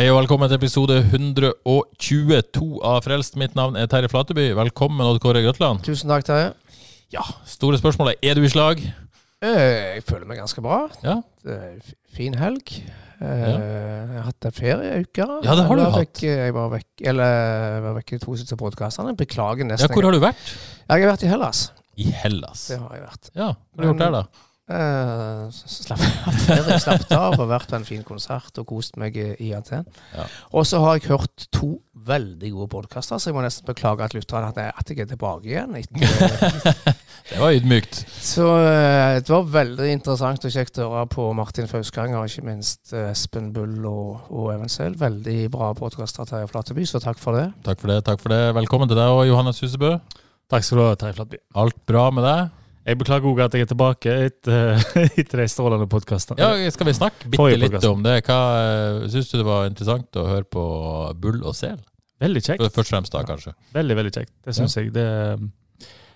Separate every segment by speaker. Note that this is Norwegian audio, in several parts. Speaker 1: Hei og velkommen til episode 122 av Frelst. Mitt navn er Terje Flateby. Velkommen, Odd Kåre Grøtland.
Speaker 2: Tusen takk, Terje.
Speaker 1: Ja, store spørsmålet. Er du i slag?
Speaker 2: Eh, Jeg føler meg ganske bra.
Speaker 1: Ja,
Speaker 2: Det er en f- fin helg. Eh, Jeg har hatt en ferieuke.
Speaker 1: Ja, det har du
Speaker 2: Jeg var
Speaker 1: hatt.
Speaker 2: Vekk, eh, jeg var vekk, eller, jeg var vekk i to siste podkastene. Beklager
Speaker 1: ja
Speaker 2: nesten.
Speaker 1: hvor har du vært?
Speaker 2: Jeg har vært i Hellas.
Speaker 1: I Hellas.
Speaker 2: Det har jeg vært.
Speaker 1: Ja, hva har du gjort der, da?
Speaker 2: Eh, så slapp, ferie, slappet av og vært på en fin konsert og kost meg i i Aten.
Speaker 1: Ja.
Speaker 2: Og så har jeg hørt to veldig gode podkaster, så jeg må nesten beklage at lytterne at jeg- at jeg er tilbake igjen. Etter,
Speaker 1: Det var ydmykt.
Speaker 2: Så eh, det var veldig interessant og kjekt å høre på Martin Fauskanger og ikke minst eh, Espen Bull og, og Evenseil. Veldig bra podkaster, Terje Flateby, så takk for det.
Speaker 1: Takk for det. takk for det. Velkommen til deg og Johannes Husebø.
Speaker 3: Takk skal du ha, Terje Flatby.
Speaker 1: Alt bra med deg?
Speaker 3: Jeg beklager òg at jeg er tilbake etter, etter de strålende podkastene.
Speaker 1: Ja, Skal vi snakke bitte
Speaker 3: Forrige
Speaker 1: litt
Speaker 3: podcast.
Speaker 1: om det? Hva Syns du det var interessant å høre på Bull og Sel?
Speaker 3: Veldig kjekt.
Speaker 1: Først og fremst, da, kanskje.
Speaker 3: Veldig, veldig kjekt. Det syns jeg. Det,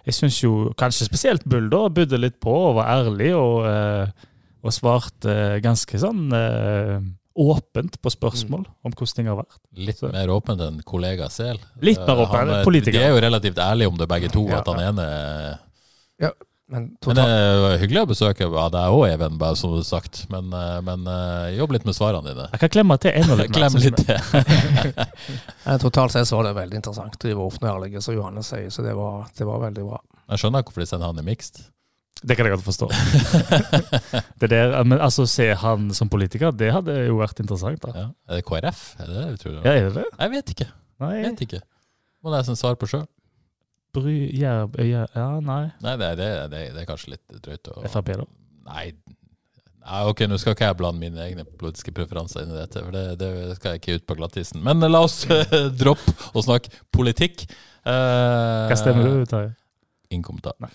Speaker 3: jeg syns jo kanskje spesielt Bull da budde litt på og var ærlig og, eh, og svarte eh, ganske sånn eh, åpent på spørsmål om hvordan ting har vært.
Speaker 1: Mm. Litt
Speaker 3: Så-
Speaker 1: mer åpent enn kollega Sel.
Speaker 3: Litt mer åpen,
Speaker 1: Han, eh,
Speaker 3: politiker.
Speaker 1: De er jo relativt ærlige om det, begge to.
Speaker 2: Ja,
Speaker 1: At han
Speaker 2: ja.
Speaker 1: ene eh,
Speaker 2: Men
Speaker 1: Men eh, det
Speaker 2: totalt
Speaker 1: var hyggelig å besøke av deg òg, Even, bare som sagt. Men, eh, men eh, jobb litt med svarene dine.
Speaker 3: Jeg kan klemme til enda litt. mer,
Speaker 1: Klem
Speaker 3: synes
Speaker 1: litt
Speaker 3: jeg.
Speaker 1: til.
Speaker 2: eh, totalt sett så var det veldig interessant. De var åpne og ærlige, som Johannes sier, så det var, det var veldig bra.
Speaker 1: Jeg skjønner hvorfor de sender han i mixed.
Speaker 3: Det kan jeg godt forstå. det der, men altså, se han som politiker, det hadde jo vært interessant. da.
Speaker 1: Ja. Er det KrF? Er det det vi tror?
Speaker 3: Ja, er det det?
Speaker 1: Jeg vet ikke.
Speaker 3: Nei,
Speaker 1: Jeg vet ikke. Må nesten svare på sjøl.
Speaker 3: bry, jerb, ja, ja, nei.
Speaker 1: Nei, det, det, det, det er kanskje litt drøyt å
Speaker 3: Frp, da.
Speaker 1: Nei. Nei, ok, nå skal ikke jeg blande mine egne politiske preferanser inn i dette, for det, det skal jeg ikke ut på glattisen. Men eh, la oss eh, droppe å snakke politikk. Eh,
Speaker 3: Hva stemmer du, Terje?
Speaker 1: Inkommentar.
Speaker 3: Nei.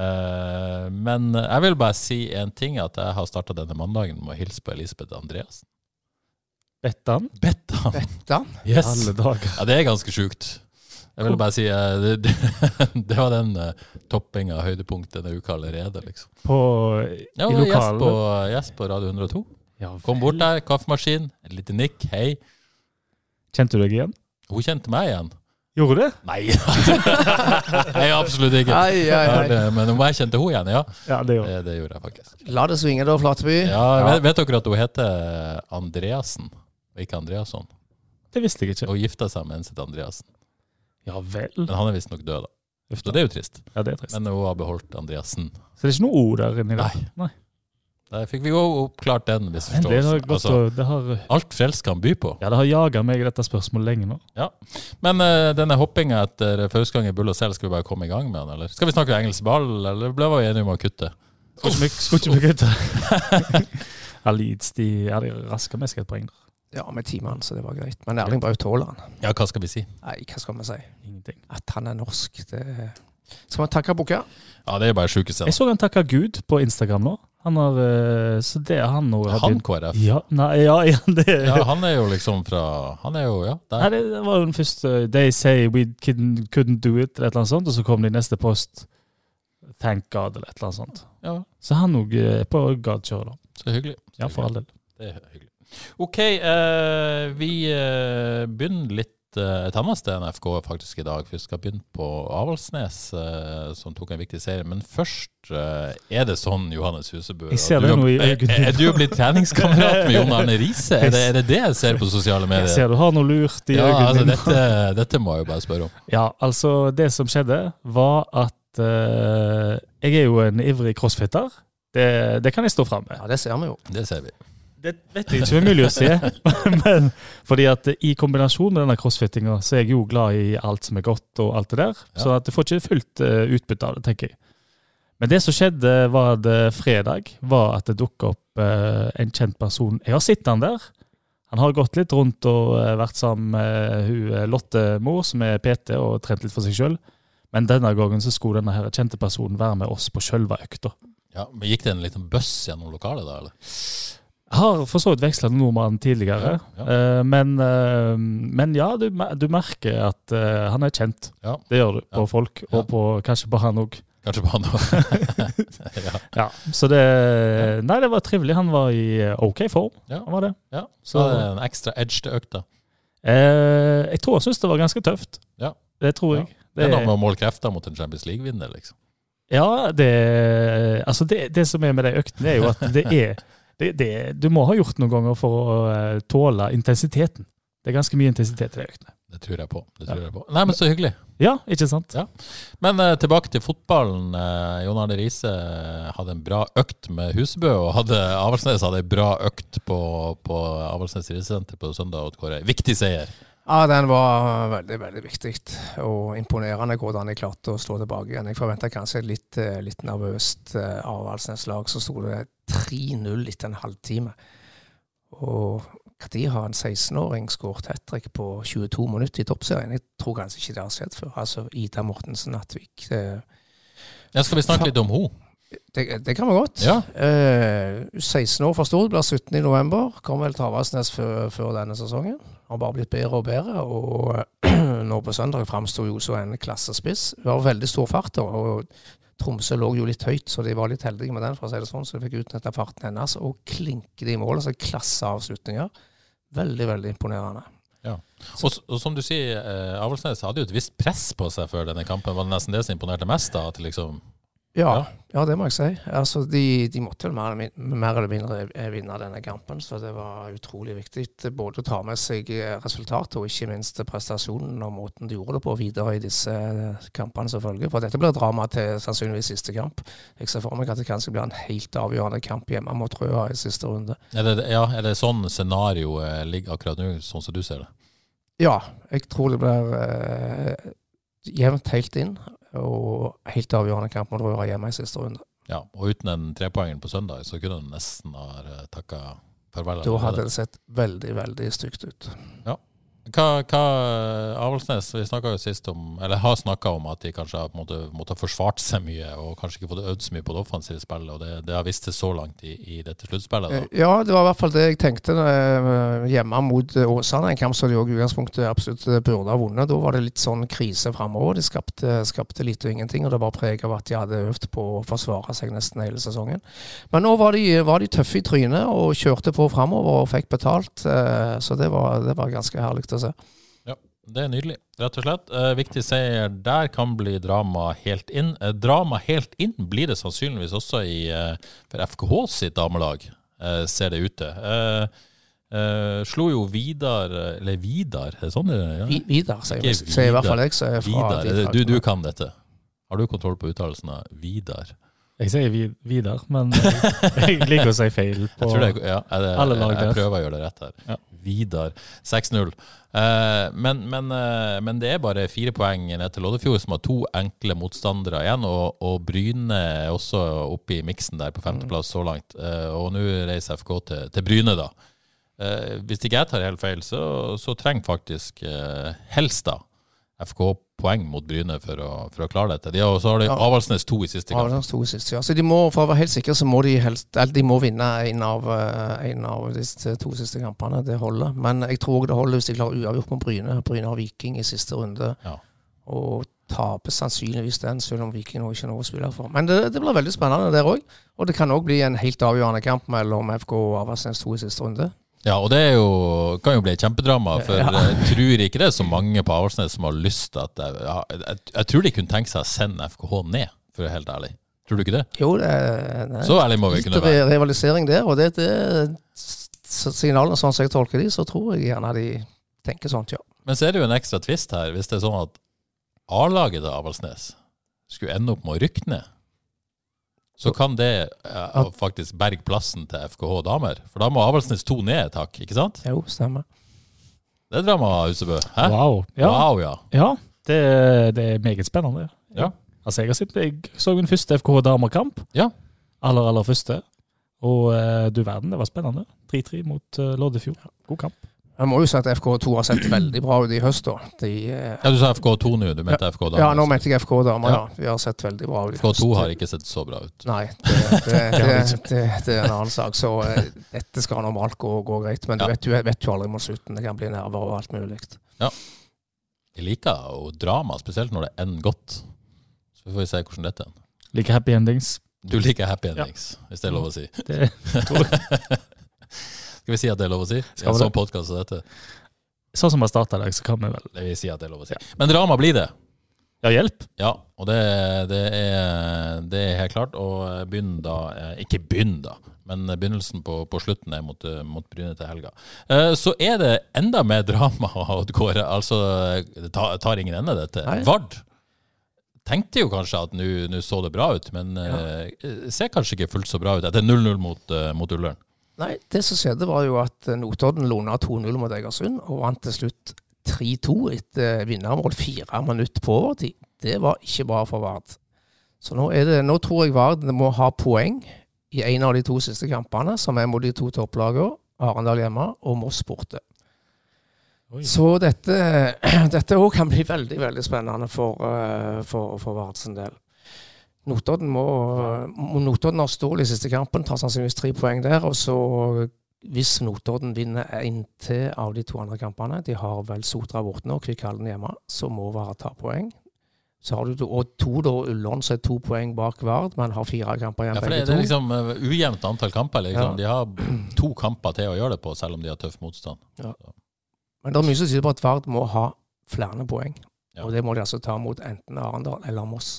Speaker 1: Eh, men jeg vil bare si en ting, at jeg har starta denne mandagen med å hilse på Elisabeth Andreassen.
Speaker 3: Bettan?
Speaker 1: Bettan!
Speaker 2: Dette
Speaker 1: Yes!
Speaker 3: Alle dager.
Speaker 1: Ja, det er ganske sjukt. Jeg vil bare si eh, det, det, det var den eh, toppinga høydepunkt denne uka allerede, liksom.
Speaker 3: På,
Speaker 1: Ja, det
Speaker 3: I
Speaker 1: var gjest på,
Speaker 3: lokalene.
Speaker 1: gjest på Radio 102.
Speaker 3: Ja,
Speaker 1: Kom bort der, kaffemaskin, et lite nikk, hei.
Speaker 3: Kjente du deg igjen?
Speaker 1: Hun kjente meg igjen.
Speaker 3: Gjorde du det?
Speaker 1: Nei, nei absolutt ikke.
Speaker 2: Ai, ai, ai.
Speaker 1: Ja, det- Men om jeg kjente henne igjen, ja.
Speaker 3: Ja, det gjorde
Speaker 1: Det,
Speaker 3: jeg.
Speaker 1: det gjorde jeg faktisk.
Speaker 2: La det svinge, da, Flateby.
Speaker 1: Ja, vet, vet dere at hun heter Andreassen, og ikke Andreasson?
Speaker 3: Det visste jeg ikke.
Speaker 1: Hun gifta seg med en sitt Andreassen,
Speaker 3: Ja vel.
Speaker 1: men han er visstnok død, da. Så det er jo trist.
Speaker 3: Ja, det er trist.
Speaker 1: Men hun har beholdt Andreassen.
Speaker 3: Så det er ikke noe O der inni der?
Speaker 1: Nei.
Speaker 3: Nei.
Speaker 1: Der fikk vi jo oppklart den
Speaker 3: Det har
Speaker 1: misforståelsen.
Speaker 3: gått
Speaker 1: Altså,
Speaker 3: og det har,
Speaker 1: alt frelst kan by på.
Speaker 3: ja, det har jaga meg i dette spørsmålet lenge nå.
Speaker 1: Men eh, denne hoppinga etter Fausgang i Bull og Sel, skal vi bare komme i gang med den, eller? Skal vi snakke om engelsk ball, eller ble vi enige om å kutte?
Speaker 3: Skulle ikke vi- skulle ikke vi kutte? Ja, Leeds de, ja, de rasker med seg et poeng der.
Speaker 2: Ja, med timene, så det var greit. Men Erling Braut Haaland,
Speaker 1: Ja, hva skal vi si?
Speaker 2: nei, hva skal vi si?
Speaker 3: Ingenting.
Speaker 2: At han er norsk, det Skal vi takke Bukka?
Speaker 1: Ja, det er jo bare sjukeste.
Speaker 3: Jeg så han takka Gud på Instagram nå. Han har, eh, så det er han nå har
Speaker 1: Han
Speaker 3: begynt-
Speaker 1: KrF.
Speaker 3: Ja, nei, ja, ja, det
Speaker 1: Ja, han er jo liksom fra Han er jo, ja,
Speaker 3: Nei,
Speaker 1: der.
Speaker 3: det det var jo den første They say we couldn't, couldn't do it, eller et eller annet sånt. Og så kom det i neste post Thank God, eller et eller annet sånt.
Speaker 1: Ja,
Speaker 3: Så han òg er på God-kjøret, da.
Speaker 1: så hyggelig.
Speaker 3: Ja, for all del.
Speaker 1: Det er hyggelig. OK, eh, vi eh, begynner litt eh, et annet sted enn FK faktisk i dag. for Vi skal begynne på Avaldsnes, eh, som tok en viktig serie. Men først eh, er det sånn, Johannes Husebø
Speaker 3: Jeg ser
Speaker 1: at du
Speaker 3: det
Speaker 1: har-
Speaker 3: nå i
Speaker 1: er,
Speaker 3: øynene.
Speaker 1: er du blitt treningskamerat med Jon Arne Riise? Er, det- er det det jeg ser på sosiale
Speaker 3: Jeg
Speaker 1: medier?
Speaker 3: ser du har noe lurt i
Speaker 1: Ja, altså,
Speaker 3: øynene dine.
Speaker 1: dette, dette må jeg jo bare spørre om.
Speaker 3: Ja, altså, det som skjedde, var at eh, Jeg er jo en ivrig crossfitter. Det, det kan jeg stå fram med.
Speaker 2: Ja, det ser vi jo.
Speaker 1: Det ser vi.
Speaker 3: det vet jeg ikke om er mulig å se. Men fordi at i kombinasjon med denne crossfittinga, så er jeg jo glad i alt som er godt og alt det der. Så at jeg får ikke fullt eh, utbytte av det, tenker jeg. Men det som skjedde var det fredag, var at det dukket opp eh, en kjent person. Jeg har sett han der. Han har gått litt rundt og eh, vært sammen med hun eh, Lotte Mor, som er PT, og trent litt for seg sjøl. Men denne gangen så skulle denne her kjente personen være med oss på sjølve økta.
Speaker 1: Ja, men Gikk det en liten buss gjennom lokalet da, eller?
Speaker 3: Jeg har for så vidt veksla nordmannen tidligere,
Speaker 1: Ja,
Speaker 3: eh, Men, eh, men ja, du, mer- du merker at eh, han er kjent.
Speaker 1: Ja.
Speaker 3: Det gjør du på
Speaker 1: Ja.
Speaker 3: folk,
Speaker 1: Ja.
Speaker 3: og på, kanskje på han òg.
Speaker 1: Kanskje på han òg. ja.
Speaker 3: Ja, så det Nei, det var trivelig. Han var i eh, OK form.
Speaker 1: Ja.
Speaker 3: Han var det.
Speaker 1: ja. Så
Speaker 3: Så-
Speaker 1: er det en ekstra edge til økta.
Speaker 3: Eh, jeg tror han syntes det var ganske tøft.
Speaker 1: Ja.
Speaker 3: Det tror jeg.
Speaker 1: Det er noe
Speaker 3: Det-
Speaker 1: med å måle krefter mot en Champions League-vinner, liksom.
Speaker 3: Ja, det, altså det, det som er med de øktene, er jo at det er det, det, Du må ha gjort noen ganger for å eh, tåle intensiteten. Det er ganske mye intensitet i de øktene.
Speaker 1: Det tror jeg på. Det tror jeg på. Nei, men så hyggelig.
Speaker 3: Ja, ikke sant?
Speaker 1: Men eh, tilbake til fotballen. Eh, Jon Arne Riise eh, hadde en bra økt med Husebø, og hadde, Avaldsnes hadde en bra økt på, på Avaldsnes Risesenter på søndag. og Kåre. Viktig seier.
Speaker 2: Ja, den var eh, veldig, veldig viktig. Og imponerende hvordan jeg klarte å slå tilbake igjen. Jeg forventa kanskje et litt, eh, litt nervøst eh, Avaldsnes lag. Så sto det 3-0 etter en halvtime. Og når har en 16-åring skåret hat trick på 22 minutter i toppserien? Jeg tror kanskje ikke det har skjedd før. Altså Ida Mortensen Natvik. eh,
Speaker 1: Ja, skal vi snakke litt om henne?
Speaker 2: Det, det kan vi godt.
Speaker 1: Ja.
Speaker 2: Eh, 16 år for Stord, blir 17 i november. Kom vel til Avaldsnes før, før denne sesongen. Har bare blitt bedre og bedre. Og nå på søndag framsto jo som en klassespiss. Hun har veldig stor fart, da, og Tromsø lå jo litt høyt, så de var litt heldige med den, for å si det sånn. Så de fikk utnytta farten hennes og klinke det i mål. Altså klasseavslutninger. Veldig, veldig imponerende.
Speaker 1: Og, s- og som du sier, eh, Avaldsnes hadde jo et visst press på seg før denne kampen. Var det nesten det som imponerte mest? da, at liksom...
Speaker 2: Ja,
Speaker 1: Ja.
Speaker 2: ja. det må jeg si. Altså, de, de måtte vel mer, eller min- mer eller mindre eh, vinne denne kampen, så det var utrolig viktig. Både å ta med seg eh, resultatet og ikke minst prestasjonen og måten de gjorde det på videre i disse eh, kampene som følger. For dette blir drama til sannsynligvis siste kamp. Jeg ser for meg at det kanskje blir en helt avgjørende kamp hjemme mot Røa i siste runde.
Speaker 1: Er det, ja, er det sånn scenarioet ligger akkurat nå, sånn som du ser det?
Speaker 2: Ja, jeg tror det blir eh, jevnt helt inn. Og helt avgjørende kamp mot Røa hjemme i siste runde.
Speaker 1: Ja, Og uten den trepoengeren på søndag, så kunne han nesten ha takka farvel.
Speaker 2: Da
Speaker 1: allerede.
Speaker 2: hadde det sett veldig, veldig stygt ut.
Speaker 1: Hva, hva eh, Avaldsnes, vi snakket jo sist om, eller har snakka om at de kanskje har på en måte måtte ha forsvart seg mye og kanskje ikke fått øvd så mye på det offensive spillet, og det, det har vist seg så langt i, i dette sluttspillet. da.
Speaker 2: Eh, Ja, det var i hvert fall det jeg tenkte eh, hjemme mot eh, Åsane. En kamp som de også i utgangspunktet absolutt eh, burde ha vunnet. Da var det litt sånn krise framover. De skapte, skapte lite og ingenting, og det var preg av at de hadde øvd på å forsvare seg nesten hele sesongen. Men nå var de, var de tøffe i trynet og kjørte på framover og fikk betalt, eh, så det var, det var ganske herlig å se.
Speaker 1: Det er nydelig, rett og slett. Eh, viktig seier der kan bli drama helt inn. Eh, drama helt inn blir det sannsynligvis også i, eh, for FKH sitt damelag, eh, ser det ut til. Eh, eh, slo jo Vidar Eller Vidar, er det sånn? det- Ja.
Speaker 2: Vi- Vidar, sier vi-
Speaker 1: Ikke
Speaker 2: sier i hvert
Speaker 1: Vidar.
Speaker 2: fall jeg. som er fra
Speaker 1: Vidar,
Speaker 2: de
Speaker 1: er det- du, du
Speaker 2: traktene.
Speaker 1: kan dette. Har du kontroll på uttalelsen av Vidar?
Speaker 3: Jeg sier vid Vidar, men eh, jeg liker å si feil. På,
Speaker 1: Jeg tror det er, ja, er det,
Speaker 3: Alle lag
Speaker 1: jeg,
Speaker 3: deres.
Speaker 1: prøver å gjøre det rett her.
Speaker 3: Ja.
Speaker 1: Vidar 6-0. Eh, men, men, eh, men det er bare fire poeng ned til Loddefjord, som har to enkle motstandere igjen. Og, og Bryne er også oppe i miksen der på femteplass
Speaker 3: Mm.
Speaker 1: så langt. Eh, og nå reiser FK til, til Bryne, da. Eh, hvis ikke jeg tar helt feil, så, så trenger faktisk eh, Helstad FK poeng mot Bryne for å, for å klare dette. De har, og så har de
Speaker 2: Ja.
Speaker 1: Avaldsnes to i siste
Speaker 2: Ja,
Speaker 1: kamp.
Speaker 2: det er to siste, ja. Så de må, for å være helt sikre, så må de helst eller de må vinne en av, eh, en av disse to siste kampene. Det holder. Men jeg tror også det holder hvis de klarer uavgjort mot Bryne. Bryne har Viking i siste runde.
Speaker 1: Ja.
Speaker 2: Og taper sannsynligvis den, selv om Viking nå ikke er noe å spille for. Men det, det blir veldig spennende der òg. Og det kan òg bli en helt avgjørende kamp mellom FK og Avaldsnes 2 i siste runde.
Speaker 1: Ja, og det er jo, kan jo bli et kjempedrama, for
Speaker 2: Ja.
Speaker 1: jeg tror ikke det er så mange på Avaldsnes som har lyst til at jeg, ja, jeg, jeg tror de kunne tenke seg å sende FKH ned, for å være helt ærlig. Tror du ikke det?
Speaker 2: Jo, det, er- det er-
Speaker 1: Så ærlig må vi
Speaker 2: litt
Speaker 1: kunne være.
Speaker 2: re- rivalisering der, og det, det er s- signalene sånn som jeg tolker de, så tror jeg gjerne de tenker sånt, ja.
Speaker 1: Men så er det jo en ekstra twist her, hvis det er sånn at A-laget til Avaldsnes skulle ende opp med å rykke ned. så kan det eh, faktisk berge plassen til FKH damer. For da må Avaldsnes to ned et hakk, ikke sant?
Speaker 2: Jo, stemmer.
Speaker 1: Det er drama, Husebø. Hæ?
Speaker 3: Wow. Ja,
Speaker 1: Wow, ja.
Speaker 3: ja det, det er meget spennende.
Speaker 1: Ja.
Speaker 3: Altså, jeg, har sett, jeg så min første FKH damekamp.
Speaker 1: Ja.
Speaker 3: Aller, aller første. Og eh, du verden, det var spennende. 3-3 mot eh, Loddefjord. God kamp.
Speaker 2: Jeg må jo si at FK2 har sett veldig bra ut i høst, da. De, eh,
Speaker 1: ja, du sa FK2 nå, du mente FK damer.
Speaker 2: ja, nå mente jeg FK-damer, ja.
Speaker 1: Ja.
Speaker 2: Vi har sett veldig bra ut. i
Speaker 1: FK2
Speaker 2: høst.
Speaker 1: har ikke sett så bra ut.
Speaker 2: Nei, det, det, det, det, det er en annen sak. Så eh, dette skal normalt gå, gå greit. Men
Speaker 1: Ja.
Speaker 2: du vet, jo- vet jo aldri mot slutten. Det kan bli nerver og alt mulig.
Speaker 1: Jeg liker jo drama, spesielt når det ender godt. Så får vi se hvordan dette ender.
Speaker 3: Like happy endings.
Speaker 1: Du liker happy endings, hvis det er lov å si.
Speaker 3: Det,
Speaker 1: Skal vi si at det er lov å si? I
Speaker 3: Skal
Speaker 1: en
Speaker 3: vi det?
Speaker 1: sånn podkast som dette.
Speaker 3: sånn som vi starta i dag, så kan vi vel
Speaker 1: Vi sier at det er lov å si. Men drama blir det.
Speaker 3: Ja, hjelp!
Speaker 1: Ja, og det, det, er, det er helt klart. Og begynn da eh, Ikke begynn, da, men eh, begynnelsen på, på slutten er mot, eh, mot Bryne til helga. Eh, Så er det enda mer drama, Odd Kåre. Altså, det tar, tar ingen ende, dette.
Speaker 2: Nei.
Speaker 1: Vard tenkte jo kanskje at nå nå så det bra ut, men eh, ser kanskje ikke fullt så bra ut etter 0-0 mot, eh, mot Ullern.
Speaker 2: Nei, det som skjedde var jo at eh, Notodden låna 2-0 mot Egersund, og vant til slutt 3-2 etter eh, vinnermål fire minutter på overtid. Det var ikke bra for Vard. Så nå, er det, nå tror jeg Vard må ha poeng i en av de to siste kampene, som er mot de to topplagene, Arendal hjemme og Moss borte.
Speaker 3: Oi.
Speaker 2: Så dette dette òg kan bli veldig veldig spennende for, eh, for, for Vard sin del. Notodden må, må Notodden har stål i siste kampen, tar sannsynligvis tre poeng der. Og så, hvis Notodden vinner en til av de to andre kampene, de har vel Sotra borte nå, Kvikkhallen hjemme, så må Vard ta poeng. Så har du to, og to da, Ullern som er to poeng bak Vard, men har fire kamper igjen,
Speaker 1: Ja, for det, det
Speaker 2: begge to.
Speaker 1: er liksom eh, ujevnt antall kamper. Liksom.
Speaker 2: Ja.
Speaker 1: De har to kamper til å gjøre det på, selv om de har tøff motstand. liksom-
Speaker 2: Men det er mye som tyder på at Vard må ha flere poeng.
Speaker 1: Ja.
Speaker 2: Og det må de altså ta mot enten Arendal eller Moss.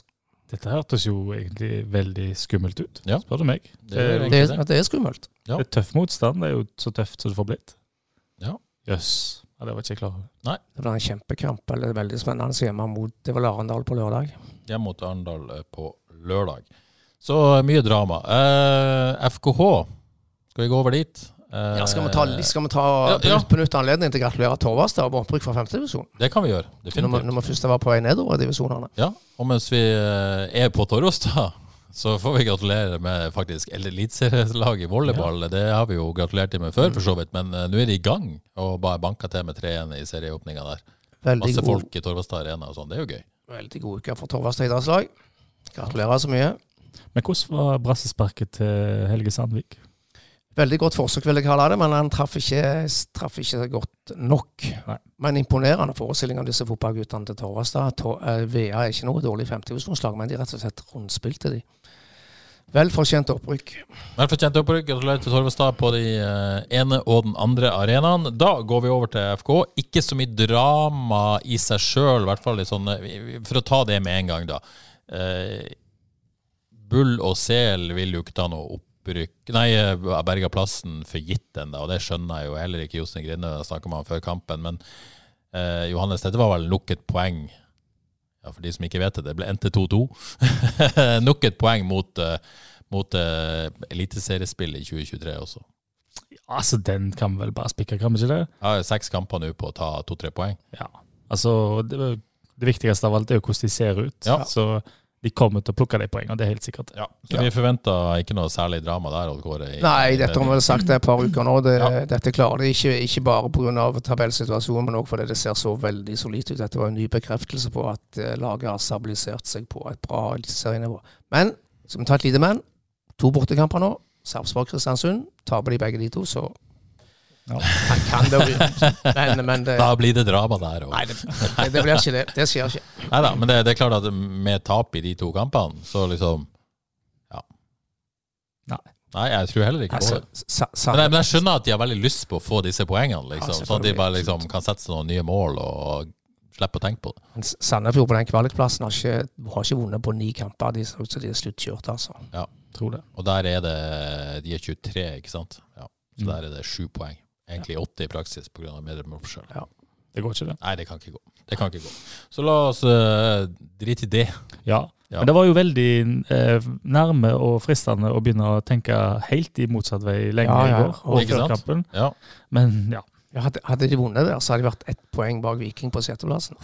Speaker 3: Dette hørtes jo egentlig veldig skummelt ut,
Speaker 1: Ja.
Speaker 3: spør du meg.
Speaker 1: Det er
Speaker 3: Eh,
Speaker 1: jo
Speaker 2: Det,
Speaker 1: ikke
Speaker 2: er- det er skummelt.
Speaker 1: Ja.
Speaker 3: Det er tøff motstand. Det er jo så tøft som det får blitt.
Speaker 1: Ja.
Speaker 3: Jøss. Ja, det var ikke jeg klar over.
Speaker 2: Det blir en kjempekamp. eller det er Veldig spennende hjemme mot det er vel Arendal på lørdag.
Speaker 1: hjemme mot Arendal eh, på lørdag. Så eh, mye drama. Eh, FKH, skal vi gå over dit? Eh,
Speaker 2: Ja, skal vi ta, skal vi ta
Speaker 1: Ja, ja.
Speaker 2: benytte- benytte anledningen til å gratulere Torvastad med opprykk fra femtedivisjon?
Speaker 1: Det kan vi gjøre,
Speaker 2: Når, vi-
Speaker 1: definitivt.
Speaker 2: når vi først var på vei nedover i divisjonene.
Speaker 1: Ja, og mens vi eh, er på Torostad, så får vi gratulere med faktisk eliteserielaget i volleyball. Det har vi jo gratulert dem med før, for så vidt, men eh, nå er de i gang og bare banka til med 3-1 i serieåpninga der.
Speaker 2: Veldig
Speaker 1: Masse
Speaker 2: god,
Speaker 1: folk i Torvastad Arena og sånn, det er jo gøy.
Speaker 2: veldig god uke for Torvastad idrettslag. Gratulerer så mye.
Speaker 3: Men hvordan var brassesparket til Helge Sandvik?
Speaker 2: Veldig godt forsøk, vil jeg kalle det, men han traff ikke, traff ikke godt nok.
Speaker 3: Nei.
Speaker 2: Men imponerende forestilling av disse fotballguttene til Torvastad. Tor- eh, VA er ikke noe dårlig femtedivisjonslag, men de rett og slett rundspilte de. Vel fortjent opprykk.
Speaker 1: Vel fortjent opprykk. Gratulerer til Torvestad på de eh, ene og den andre arenaen. Da går vi over til FK. Ikke så mye drama i seg sjøl, i hvert fall litt sånn eh, vi- vi- For å ta det med en gang, da. Eh, Bull og sel vil jo ikke ta noe opprykk Nei, eh, berga plassen for gitt ennå, og det skjønner jeg jo heller ikke. Jostein Grinde snakka med han før kampen, men eh, Johannes, dette var vel nok et poeng. Ja, For de som ikke vet det, det ble endte 2-2. nok et poeng mot eh, mot uh, eliteseriespill i 2023 også.
Speaker 3: Altså, den kan vi vel bare spikke, kan vi ikke det?
Speaker 1: Jeg har seks kamper nå på å ta to-tre poeng.
Speaker 3: Ja. Altså, det, det viktigste av alt er jo hvordan de ser ut.
Speaker 1: Ja.
Speaker 3: Så de kommer til å plukke de poengene, det er helt sikkert.
Speaker 1: Så vi forventer ikke noe særlig drama der. Odd Kåre. i-
Speaker 2: Nei, dette har vi vel sagt det et par uker nå. Det,
Speaker 1: Ja.
Speaker 2: Dette klarer de ikke, ikke bare pga. tabellsituasjonen, men òg fordi det ser så veldig solid ut. Dette var en ny bekreftelse på at eh, laget har stabilisert seg på et bra eliteserienivå. Men skal vi ta et lite men? To bortekamper nå. Sarpsborg-Kristiansund. Taper de begge de to, så
Speaker 3: Ja.
Speaker 2: kan det jo Men, men det,
Speaker 1: Da blir det drama der òg.
Speaker 2: nei, det, det blir ikke det. Det skjer ikke.
Speaker 1: Nei da, men det, det er klart at med tap i de to kampene, så liksom Ja.
Speaker 3: Nei.
Speaker 1: Nei, jeg tror heller ikke på
Speaker 2: Altså,
Speaker 1: det.
Speaker 2: sa, sa,
Speaker 1: Men jeg, men jeg skjønner at de har veldig lyst på å få disse poengene,
Speaker 2: Ja,
Speaker 1: liksom,
Speaker 2: selvfølgelig.
Speaker 1: sånn at de bare liksom kan sette seg noen nye mål og slippe å tenke på det.
Speaker 2: men Sandefjord på den kvalikplassen har ikke, har ikke vunnet på ni kamper. De ser ut som de er sluttkjørt, altså.
Speaker 3: Tror det.
Speaker 1: Og der er det De er 23, ikke sant? Ja. Så
Speaker 3: Mm.
Speaker 1: der er det sju poeng. Egentlig åtte i praksis pga. bedre målforskjell.
Speaker 3: Det går ikke, det.
Speaker 1: Nei, det kan ikke gå. Det kan ikke gå. Så la oss eh, drite i det.
Speaker 3: Ja.
Speaker 1: Ja.
Speaker 3: Men det var jo veldig eh, nærme og fristende å begynne å tenke helt i motsatt vei lenge
Speaker 2: Ja, ja.
Speaker 3: i går. Og
Speaker 1: Ikke
Speaker 3: før
Speaker 1: sant?
Speaker 3: kampen.
Speaker 1: Ja.
Speaker 3: Men ja.
Speaker 2: Ja, hadde, hadde de vunnet der, så hadde de vært ett poeng bak Viking på sjetteplassen.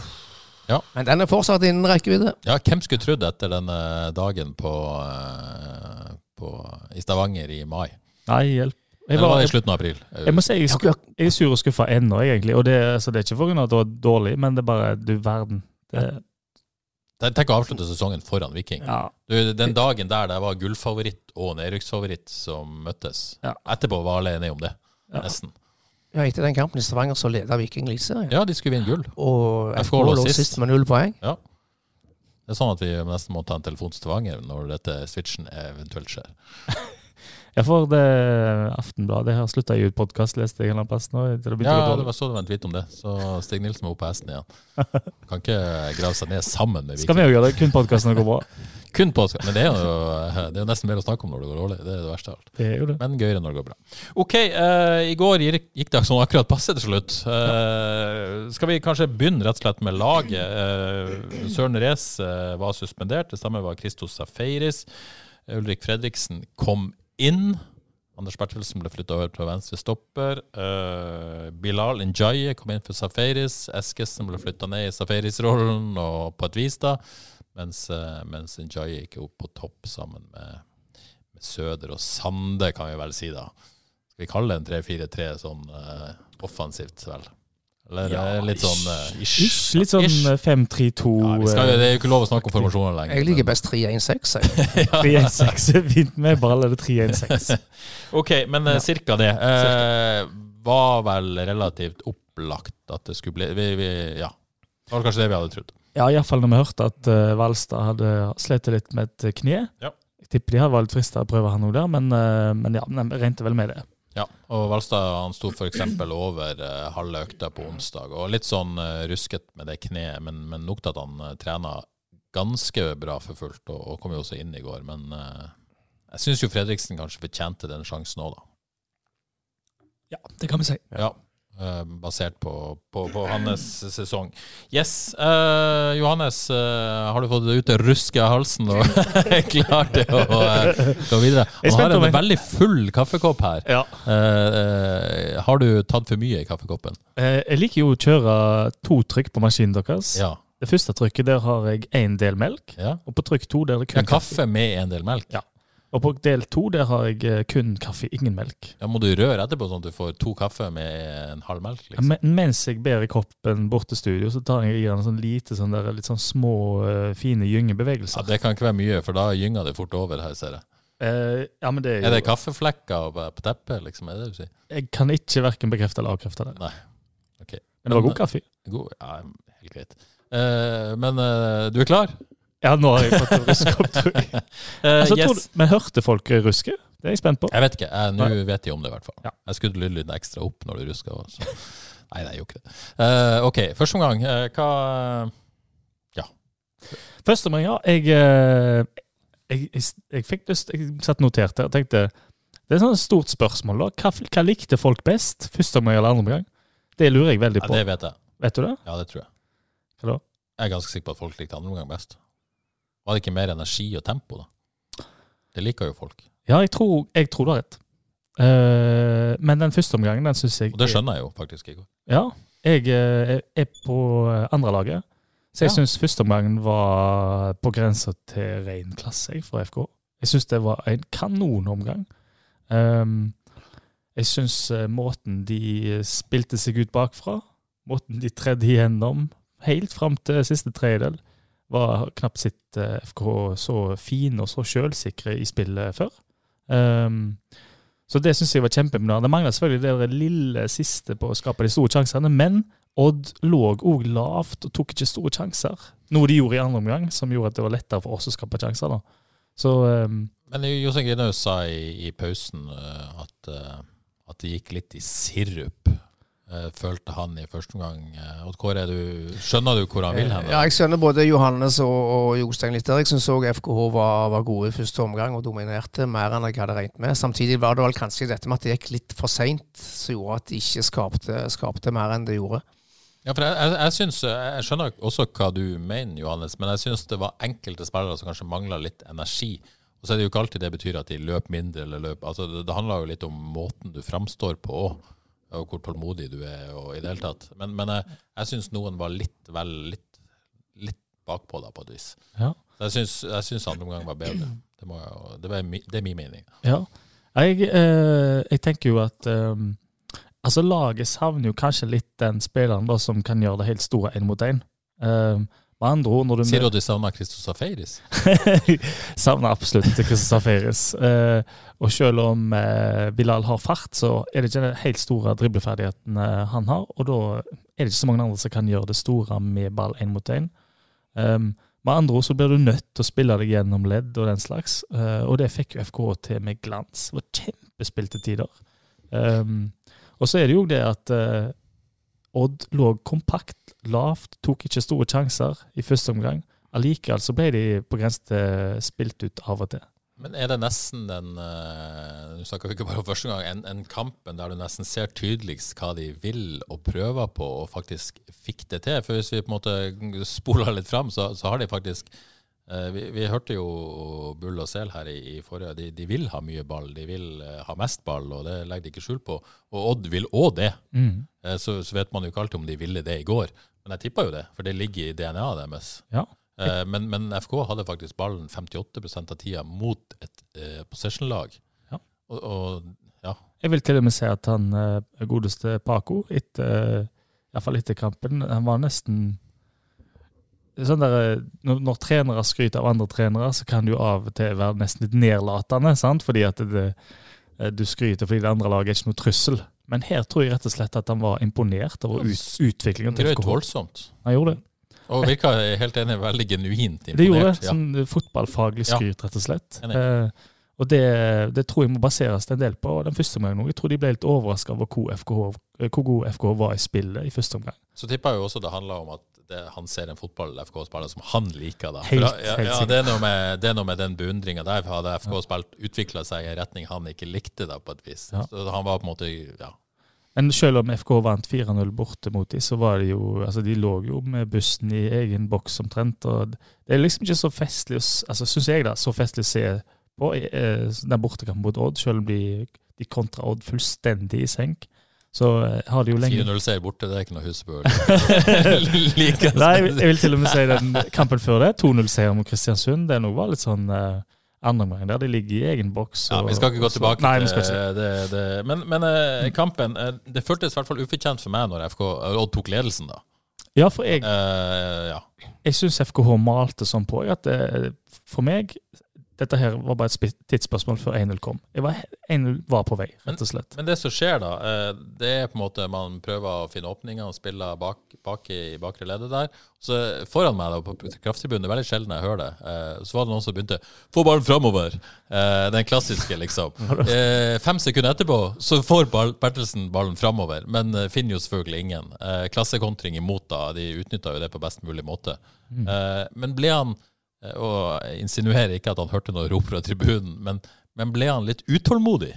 Speaker 1: Ja.
Speaker 2: Men den er fortsatt innen rekkevidde.
Speaker 1: ja, hvem skulle trodd etter denne dagen på, eh, på, i Stavanger i mai?
Speaker 3: Nei, hjelp. Jeg,
Speaker 1: Eller
Speaker 3: var,
Speaker 1: var det i
Speaker 3: jeg,
Speaker 1: slutten av april?
Speaker 3: jeg må si jeg, er sku- jeg er sur og skuffa ennå, egentlig. Og det, så det er ikke på grunn av at det var dårlig, men det er bare Du verden. Det,
Speaker 1: Eh, Tenk å avslutte sesongen foran Viking.
Speaker 3: ja.
Speaker 1: Du, den dagen der det var gullfavoritt og nedrykksfavoritt som møttes.
Speaker 3: Ja.
Speaker 1: Etterpå var alle enige om det.
Speaker 3: Ja.
Speaker 1: Nesten.
Speaker 2: Ja, etter den kampen i Stavanger så leda Viking Eliteserien.
Speaker 1: Ja, de skulle vinne gull.
Speaker 2: Og
Speaker 1: FK
Speaker 2: FK lå
Speaker 1: lå sist.
Speaker 2: sist med null poeng.
Speaker 1: Det er sånn at vi nesten må ta en telefon til Stavanger når dette switchen eventuelt skjer.
Speaker 3: ja, for det Aftenbladet har slutta å gi ut podkast, leste jeg en eller annen plass nå. til å begynne å gå
Speaker 1: Ja, det
Speaker 3: dårlig.
Speaker 1: var så det var en tweet om det. Så Stig Nilsen må opp på hesten igjen. Kan ikke grave seg ned sammen med
Speaker 3: Skal vi
Speaker 1: Viking.
Speaker 3: òg gjøre det? Kun podkasten går bra.
Speaker 1: Kun på, men det er, jo, det er jo nesten mer å snakke om når det går dårlig. Det er det verste av alt.
Speaker 3: Det er jo det.
Speaker 1: Men gøyere når det går bra. OK, eh, i går gikk, gikk det sånn akkurat passe til slutt. Eh, skal vi kanskje begynne rett og slett med laget? Eh, Søren Rees eh, var suspendert, det samme var Christos Safaris. Ulrik Fredriksen kom inn. Anders Bertelsen ble flytta over til venstre stopper. Eh, Bilal Njaye kom inn for Safaris. Eskesen ble flytta ned i Safaris-rollen, og på et vis, da. Mens, eh, mens Njaye gikk opp på topp sammen med med Søder og Sande, kan vi vel si, da. Skal vi kalle det en 3-4-3 sånn eh, offensivt, vel? Eller eh, litt sånn eh, ish.
Speaker 3: Ish, litt sånn
Speaker 1: Ish.
Speaker 3: eh, 5-3-2
Speaker 1: ja, vi
Speaker 3: eh,
Speaker 1: skal, jo- Det er jo ikke lov å snakke om
Speaker 3: aktiv.
Speaker 1: formasjoner lenger.
Speaker 2: Jeg liker
Speaker 1: men-
Speaker 2: best 3-1-6. jeg.
Speaker 3: 3-1-6 er fint med ball, eller 3-1-6.
Speaker 1: Ok, men eh, cirka det. Eh, var vel relativt opplagt at det skulle bli vi, vi, Ja. Det var kanskje det vi hadde trodd.
Speaker 3: Ja, iallfall når vi hørte at eh, Valstad hadde slitt litt med et kne.
Speaker 1: Ja.
Speaker 3: Jeg tipper de hadde vært frista å prøve han òg der, men, eh, men ja, de regnet vel med det.
Speaker 1: Ja, og Valstad han sto f.eks. over eh, halve økta på onsdag, og litt sånn eh, rusket med det kneet, men, men nok til at han eh, trena ganske bra for fullt, og, og kom jo også inn i går. Men eh, jeg syns jo Fredriksen kanskje fortjente den sjansen òg, da.
Speaker 3: Ja, det kan vi si.
Speaker 1: Ja. eh, basert på, på, på hans sesong. Yes, eh, Johannes, eh, har du fått det ut det ruske av halsen og klar til å eh, gå videre?
Speaker 3: Jeg er
Speaker 1: Han
Speaker 3: spent
Speaker 1: har
Speaker 3: om
Speaker 1: en
Speaker 3: jeg-
Speaker 1: veldig full kaffekopp her.
Speaker 3: Ja.
Speaker 1: Eh, eh, har du tatt for mye i kaffekoppen?
Speaker 3: Eh, Jeg liker jo å kjøre to trykk på maskinen deres.
Speaker 1: Ja.
Speaker 3: Det første trykket, der har jeg én del melk.
Speaker 1: ja.
Speaker 3: Og på trykk to, der er det
Speaker 1: ja
Speaker 3: kun kaffe.
Speaker 1: kaffe med en del melk.
Speaker 3: Ja. Og på del to, der har jeg eh, kun kaffe, ingen melk.
Speaker 1: Ja, må du røre etterpå, sånn at du får to kaffe med en halv melk? Liksom.
Speaker 3: Men, mens jeg ber i koppen bort til studio, så tar jeg i den sånn lite sånn der, litt sånn små, eh, fine
Speaker 1: Ja,
Speaker 3: gyngebevegelser.
Speaker 1: det kan ikke være mye, for da gynger det fort over her, ser jeg.
Speaker 3: Eh, ja, men det er jo...
Speaker 1: Er det kaffeflekker på på teppet, liksom? Er det det du sier?
Speaker 3: Jeg kan ikke hverken bekrefte eller avkrefte det.
Speaker 1: Nei. Ok.
Speaker 3: Men det var
Speaker 1: Men- eh,
Speaker 3: god kaffe.
Speaker 1: God, ja, helt greit. Eh, men eh, du er klar?
Speaker 3: Ja, nå har jeg fått en ruskopp, tror jeg.
Speaker 1: Eh,
Speaker 3: Altså, tror
Speaker 1: yes.
Speaker 3: du, men hørte folk ruske? Det er jeg spent på.
Speaker 1: Jeg vet ikke. jeg- Nå
Speaker 3: Nei.
Speaker 1: vet de om det, i hvert fall.
Speaker 3: Ja.
Speaker 1: Jeg skrudde lydlyden ekstra opp når du ruska. og så- Nei, det gjorde ikke det. Eh, OK, første omgang. eh, hva
Speaker 3: Første omgang, ja. Jeg, eh, jeg, jeg, jeg fikk lyst Jeg satt notert her og tenkte Det er et sånt stort spørsmål, da. Hva, hva likte folk best? Første omgang eller andre omgang? Det lurer jeg veldig
Speaker 1: Ja,
Speaker 3: på.
Speaker 1: det vet jeg.
Speaker 3: Vet du det?
Speaker 1: Ja, det tror jeg.
Speaker 3: Hva da?
Speaker 1: Jeg er ganske sikker på at folk likte andre omgang best. Var det ikke mer energi og tempo, da? Det liker jo folk.
Speaker 3: Ja, jeg tror, jeg tror du har rett. Eh, men den første omgangen, den syns jeg
Speaker 1: Og det skjønner jeg jo faktisk i går.
Speaker 3: Ja. Jeg eh, er på eh, andre laget, så jeg
Speaker 1: Ja.
Speaker 3: syns første omgangen var på grensa til ren klasse jeg, for FK. Jeg syns det var en kanonomgang. Ehm, jeg syns eh, måten de eh, spilte seg ut bakfra, måten de tredde igjennom helt fram til siste tredjedel, var knapt sitt eh, FK så fine og så sjølsikre i spillet før. Ehm, så det syns jeg var kjempeimponerende. Det mangler selvfølgelig det der lille siste på å skape de store sjansene, men Odd lå òg lavt og tok ikke store sjanser. Noe de gjorde i andre omgang, som gjorde at det var lettere for oss å skape sjanser. da. Så ehm,
Speaker 1: Men Jostein Grinhaug sa i, i pausen eh, at, eh, at det gikk litt i sirup, eh, følte han i første omgang. Eh, Odd Kåre, du, skjønner du hvor han vil hen?
Speaker 2: Ja,
Speaker 1: da?
Speaker 2: jeg skjønner både Johannes og, og Jostein litt der. Jeg syns òg FKH var, var gode i første omgang og dominerte mer enn jeg hadde regnet med. Samtidig var det vel kanskje dette med at det gikk litt for seint som gjorde at de ikke skapte, skapte mer enn det gjorde.
Speaker 1: Ja, for jeg, jeg, jeg, synes, jeg skjønner også hva du mener, Johannes, men jeg syns det var enkelte spillere som kanskje mangla litt energi. Og så er det jo ikke alltid det betyr at de løp mindre eller løp altså, det, det handler jo litt om måten du framstår på òg, og hvor tålmodig du er og i det hele tatt. Men, men jeg, jeg syns noen var litt vel litt, litt bakpå da, på et vis.
Speaker 3: Ja.
Speaker 1: Så jeg syns, jeg syns andre omgang var bedre. Det, må jeg, jo- det, var, mi- det er min mening.
Speaker 3: Ja. Jeg, eh, jeg tenker jo at eh, Altså, laget savner jo kanskje litt den spilleren da, som kan gjøre det helt store én mot én. Eh, med andre ord, når du
Speaker 1: Sier du at de savna Christos Safaris?
Speaker 3: savner absolutt Christian Safaris. Eh, og selv om eh, Bilal har fart, så er det ikke den helt store dribleferdigheten eh, han har. Og da er det ikke så mange andre som kan gjøre det store med ball én mot én. Um, med andre ord så blir du nødt til å spille deg gjennom ledd og den slags. Eh, og det fikk jo FK til med glans. Det var kjempespilte tider. Um, og så er det jo det at eh, Odd lå kompakt, lavt, tok ikke store sjanser i første omgang. Allikevel så ble de på grensen til spilt ut av og til.
Speaker 1: Men er det nesten den eh, Nå snakker vi ikke bare om første gang, en, en kampen der du nesten ser tydeligst hva de vil og prøver på, og faktisk fikk det til? For hvis vi på en måte spoler litt fram, så, så har de faktisk eh, vi, vi hørte jo Bull og Sel her i, i forrige de, de vil ha mye ball, de vil eh, ha mest ball, og det legger de ikke skjul på. Og Odd vil òg det. Eh, Så, så vet man jo ikke alltid om de ville det i går, men jeg tippa jo det, for det ligger i DNA-et deres.
Speaker 3: Ja.
Speaker 1: Eh, Men, men FK hadde faktisk ballen 58 av tida mot et eh, possession-lag.
Speaker 3: Ja.
Speaker 1: Og, og ja,
Speaker 3: Jeg vil til og med si at han eh, godeste Paco, etter, eh, i hvert fall etter kampen, han var nesten sånn der, eh, når, når trenere skryter av andre trenere, så kan det jo av og til være nesten litt nedlatende, sant? fordi at det, eh, du skryter fordi det andre laget er ikke noe trussel. Men her tror jeg rett og slett at han var imponert over ut, utviklingen til
Speaker 1: drøyt
Speaker 3: FK.
Speaker 1: voldsomt.
Speaker 3: Han gjorde det.
Speaker 1: Og virka jeg er helt enig, veldig genuint
Speaker 3: Det gjorde det.
Speaker 1: imponert.
Speaker 3: Sånn fotballfaglig
Speaker 1: Ja.
Speaker 3: skryt, rett og slett.
Speaker 1: Enig.
Speaker 3: Eh, og det, det tror jeg må baseres en del på den første omgangen. også. Jeg tror de ble litt overraska over hvor, FKH, eh, hvor god FK var i spillet i første omgang.
Speaker 1: Så tippa jeg jo også det handla om at det, han ser en fotball-FK-spiller som han liker. da.
Speaker 3: Helt-
Speaker 1: For ja,
Speaker 3: helt
Speaker 1: ja,
Speaker 3: sikkert.
Speaker 1: det, er noe med, det er noe med den beundringa der. for Hadde FK spilt utvikla seg i en retning han ikke likte, da, på et vis.
Speaker 3: Ja.
Speaker 1: Så han var på en måte ja,
Speaker 3: Men selv om FK vant 4-0 borte mot dem, så var det jo, altså de lå jo med bussen i egen boks omtrent. og Det er liksom ikke så festlig, å s- altså synes jeg da, så festlig å se på eh, den bortekampen mot Odd, selv om de, de kontra Odd fullstendig i senk. Så eh, har de jo lenge
Speaker 1: 4-0-seier borte, det er ikke noe husbøl. like,
Speaker 3: Nei, jeg vil- jeg vil til og med si den kampen før det. 2-0-seier mot Kristiansund. Den òg var litt sånn eh, andre omgang der. De ligger i egen boks.
Speaker 1: Ja,
Speaker 3: og-
Speaker 1: Vi skal ikke gå
Speaker 3: og så-
Speaker 1: tilbake
Speaker 3: Nei, vi
Speaker 1: til eh,
Speaker 3: skal ikke.
Speaker 1: det. det. Men, men eh, kampen eh, Det føltes i hvert fall ufortjent for meg når FK Odd tok ledelsen, da.
Speaker 3: Ja, for jeg,
Speaker 1: Eh, ja.
Speaker 3: jeg syns FKH malte sånn på at eh, for meg dette her var bare et spi- tidsspørsmål før 1-0 kom. Jeg var, 1-0 var på vei, rett og slett.
Speaker 1: Men det som skjer, da, eh, det er på en måte man prøver å finne åpninger og spiller bak, bak i bakre leddet der. Så foran meg da, på krafttribunen, det er veldig sjelden jeg hører det, eh, så var det noen som begynte 'Få ballen framover!' Eh, Den klassiske, liksom. Eh, Fem sekunder etterpå så får ball, Bertelsen ballen framover, men eh, finner jo selvfølgelig ingen. Eh, Klassekontring imot, da. De utnytta jo det på best mulig måte. Eh, Men ble han eh, Og jeg insinuerer ikke at han hørte noe rop fra tribunen, men, men ble han litt utålmodig?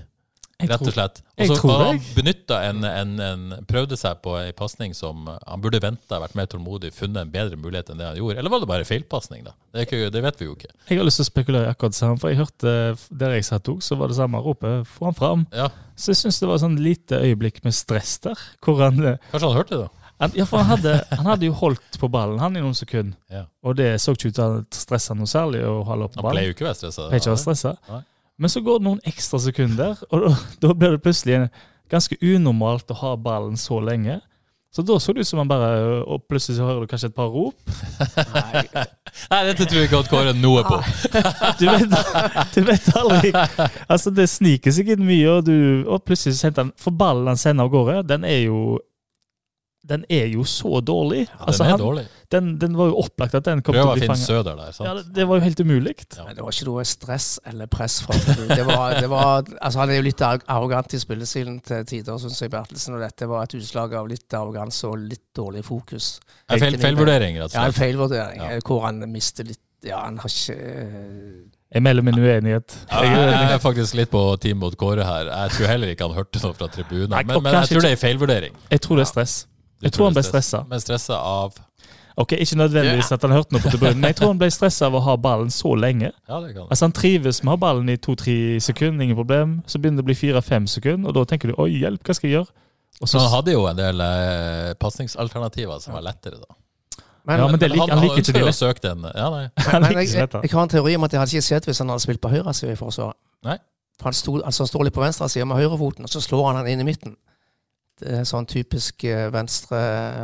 Speaker 3: Jeg
Speaker 1: rett og
Speaker 3: tror-
Speaker 1: slett.
Speaker 3: jeg
Speaker 1: Og så
Speaker 3: tror
Speaker 1: har han
Speaker 3: det.
Speaker 1: benytta en, en, en Prøvde seg på ei pasning som han burde venta, vært mer tålmodig, funnet en bedre mulighet enn det han gjorde. Eller var det bare feilpasning, da? Det, er ikke, det vet vi jo ikke.
Speaker 3: Jeg har lyst til å spekulere i akkurat det samme, for jeg hørte eh, der jeg satt òg, så var det samme ropet 'få han fram'.
Speaker 1: Ja,
Speaker 3: Så jeg syns det var sånn lite øyeblikk med stress der, hvor han eh,
Speaker 1: Kanskje han hørte det, da?
Speaker 3: Han, ja, for han hadde, han hadde jo holdt på ballen han i noen sekunder.
Speaker 1: Ja.
Speaker 3: Og det så ikke ut til å stresse noe særlig å holde opp
Speaker 1: Han
Speaker 3: ballen.
Speaker 1: pleier jo ikke å være stressa.
Speaker 3: Pleier ikke å være stressa.
Speaker 1: Nei.
Speaker 3: Men så går det noen ekstra sekunder, og da, da blir det plutselig en, ganske unormalt å ha ballen så lenge. Så da så det ut som han bare Og plutselig så hører du kanskje et par rop.
Speaker 1: Nei, dette tror jeg ikke at Kåre noe på.
Speaker 3: Ah, Du vet, du vet aldri. Altså, det sniker seg inn mye, og, du, og plutselig så sendte han For ballen han sender av gårde, den er jo Den er jo så dårlig. Altså,
Speaker 1: Den er
Speaker 3: han,
Speaker 1: dårlig.
Speaker 3: den, den var jo opplagt at den kom til
Speaker 1: Prøv
Speaker 3: å
Speaker 1: å
Speaker 3: bli
Speaker 1: finne
Speaker 3: fanget.
Speaker 1: Søder der,
Speaker 3: Ja,
Speaker 1: sant?
Speaker 3: det, det var jo helt umulig.
Speaker 1: Ja.
Speaker 2: Men det var ikke noe stress eller press fra Fulu. det var, det var, altså Han er jo litt arro- arrogant i spillestilen til tider, syns jeg, Bertelsen. Og dette var et utslag av litt arroganse og litt dårlig fokus.
Speaker 1: Det er feil, feilvurdering, rett og
Speaker 2: Ja, en
Speaker 1: slett.
Speaker 2: feilvurdering
Speaker 1: Ja.
Speaker 2: eh, hvor han mister litt Ja, han har ikke eh,
Speaker 3: Jeg melder min uenighet.
Speaker 1: Ja, Jeg jeg er faktisk litt på team mot Kåre her. Jeg tror heller ikke han hørte noe fra tribunen.
Speaker 3: Nei,
Speaker 1: Men,
Speaker 3: og
Speaker 1: men jeg
Speaker 3: kanskje
Speaker 1: tror det er en feilvurdering.
Speaker 3: Jeg tror det er stress.
Speaker 1: Du
Speaker 3: Jeg tror han ble
Speaker 1: det stress-
Speaker 3: stressa.
Speaker 1: Men stressa av
Speaker 3: Ok, Ikke nødvendigvis at han hørte noe på tribunen, men jeg tror han ble stressa av å ha ballen så lenge.
Speaker 1: Ja, det kan det.
Speaker 3: Altså Han trives med å ha ballen i to-tre sekunder, ingen problem. Så begynner det å bli fire-fem sekunder, og da tenker du 'oi, hjelp, hva skal jeg gjøre?' Og
Speaker 1: Så
Speaker 3: så,
Speaker 1: han hadde jo en del eh, pasningsalternativer som var lettere, da.
Speaker 2: Men,
Speaker 3: ja, men det,
Speaker 1: Men
Speaker 3: lik- han liker ikke
Speaker 1: ønsker jo
Speaker 3: det.
Speaker 1: å søke den. Ja, nei.
Speaker 2: Men
Speaker 3: Han liker
Speaker 2: jeg,
Speaker 3: ikke
Speaker 2: jeg,
Speaker 3: dette.
Speaker 2: jeg har en teori om at det hadde ikke skjedd hvis han hadde spilt på høyresida i Forsvaret.
Speaker 1: Nei.
Speaker 2: For han, sto, altså han står litt på venstresida med høyrefoten, og så slår han han inn i midten. Det er sånn typisk eh, venstre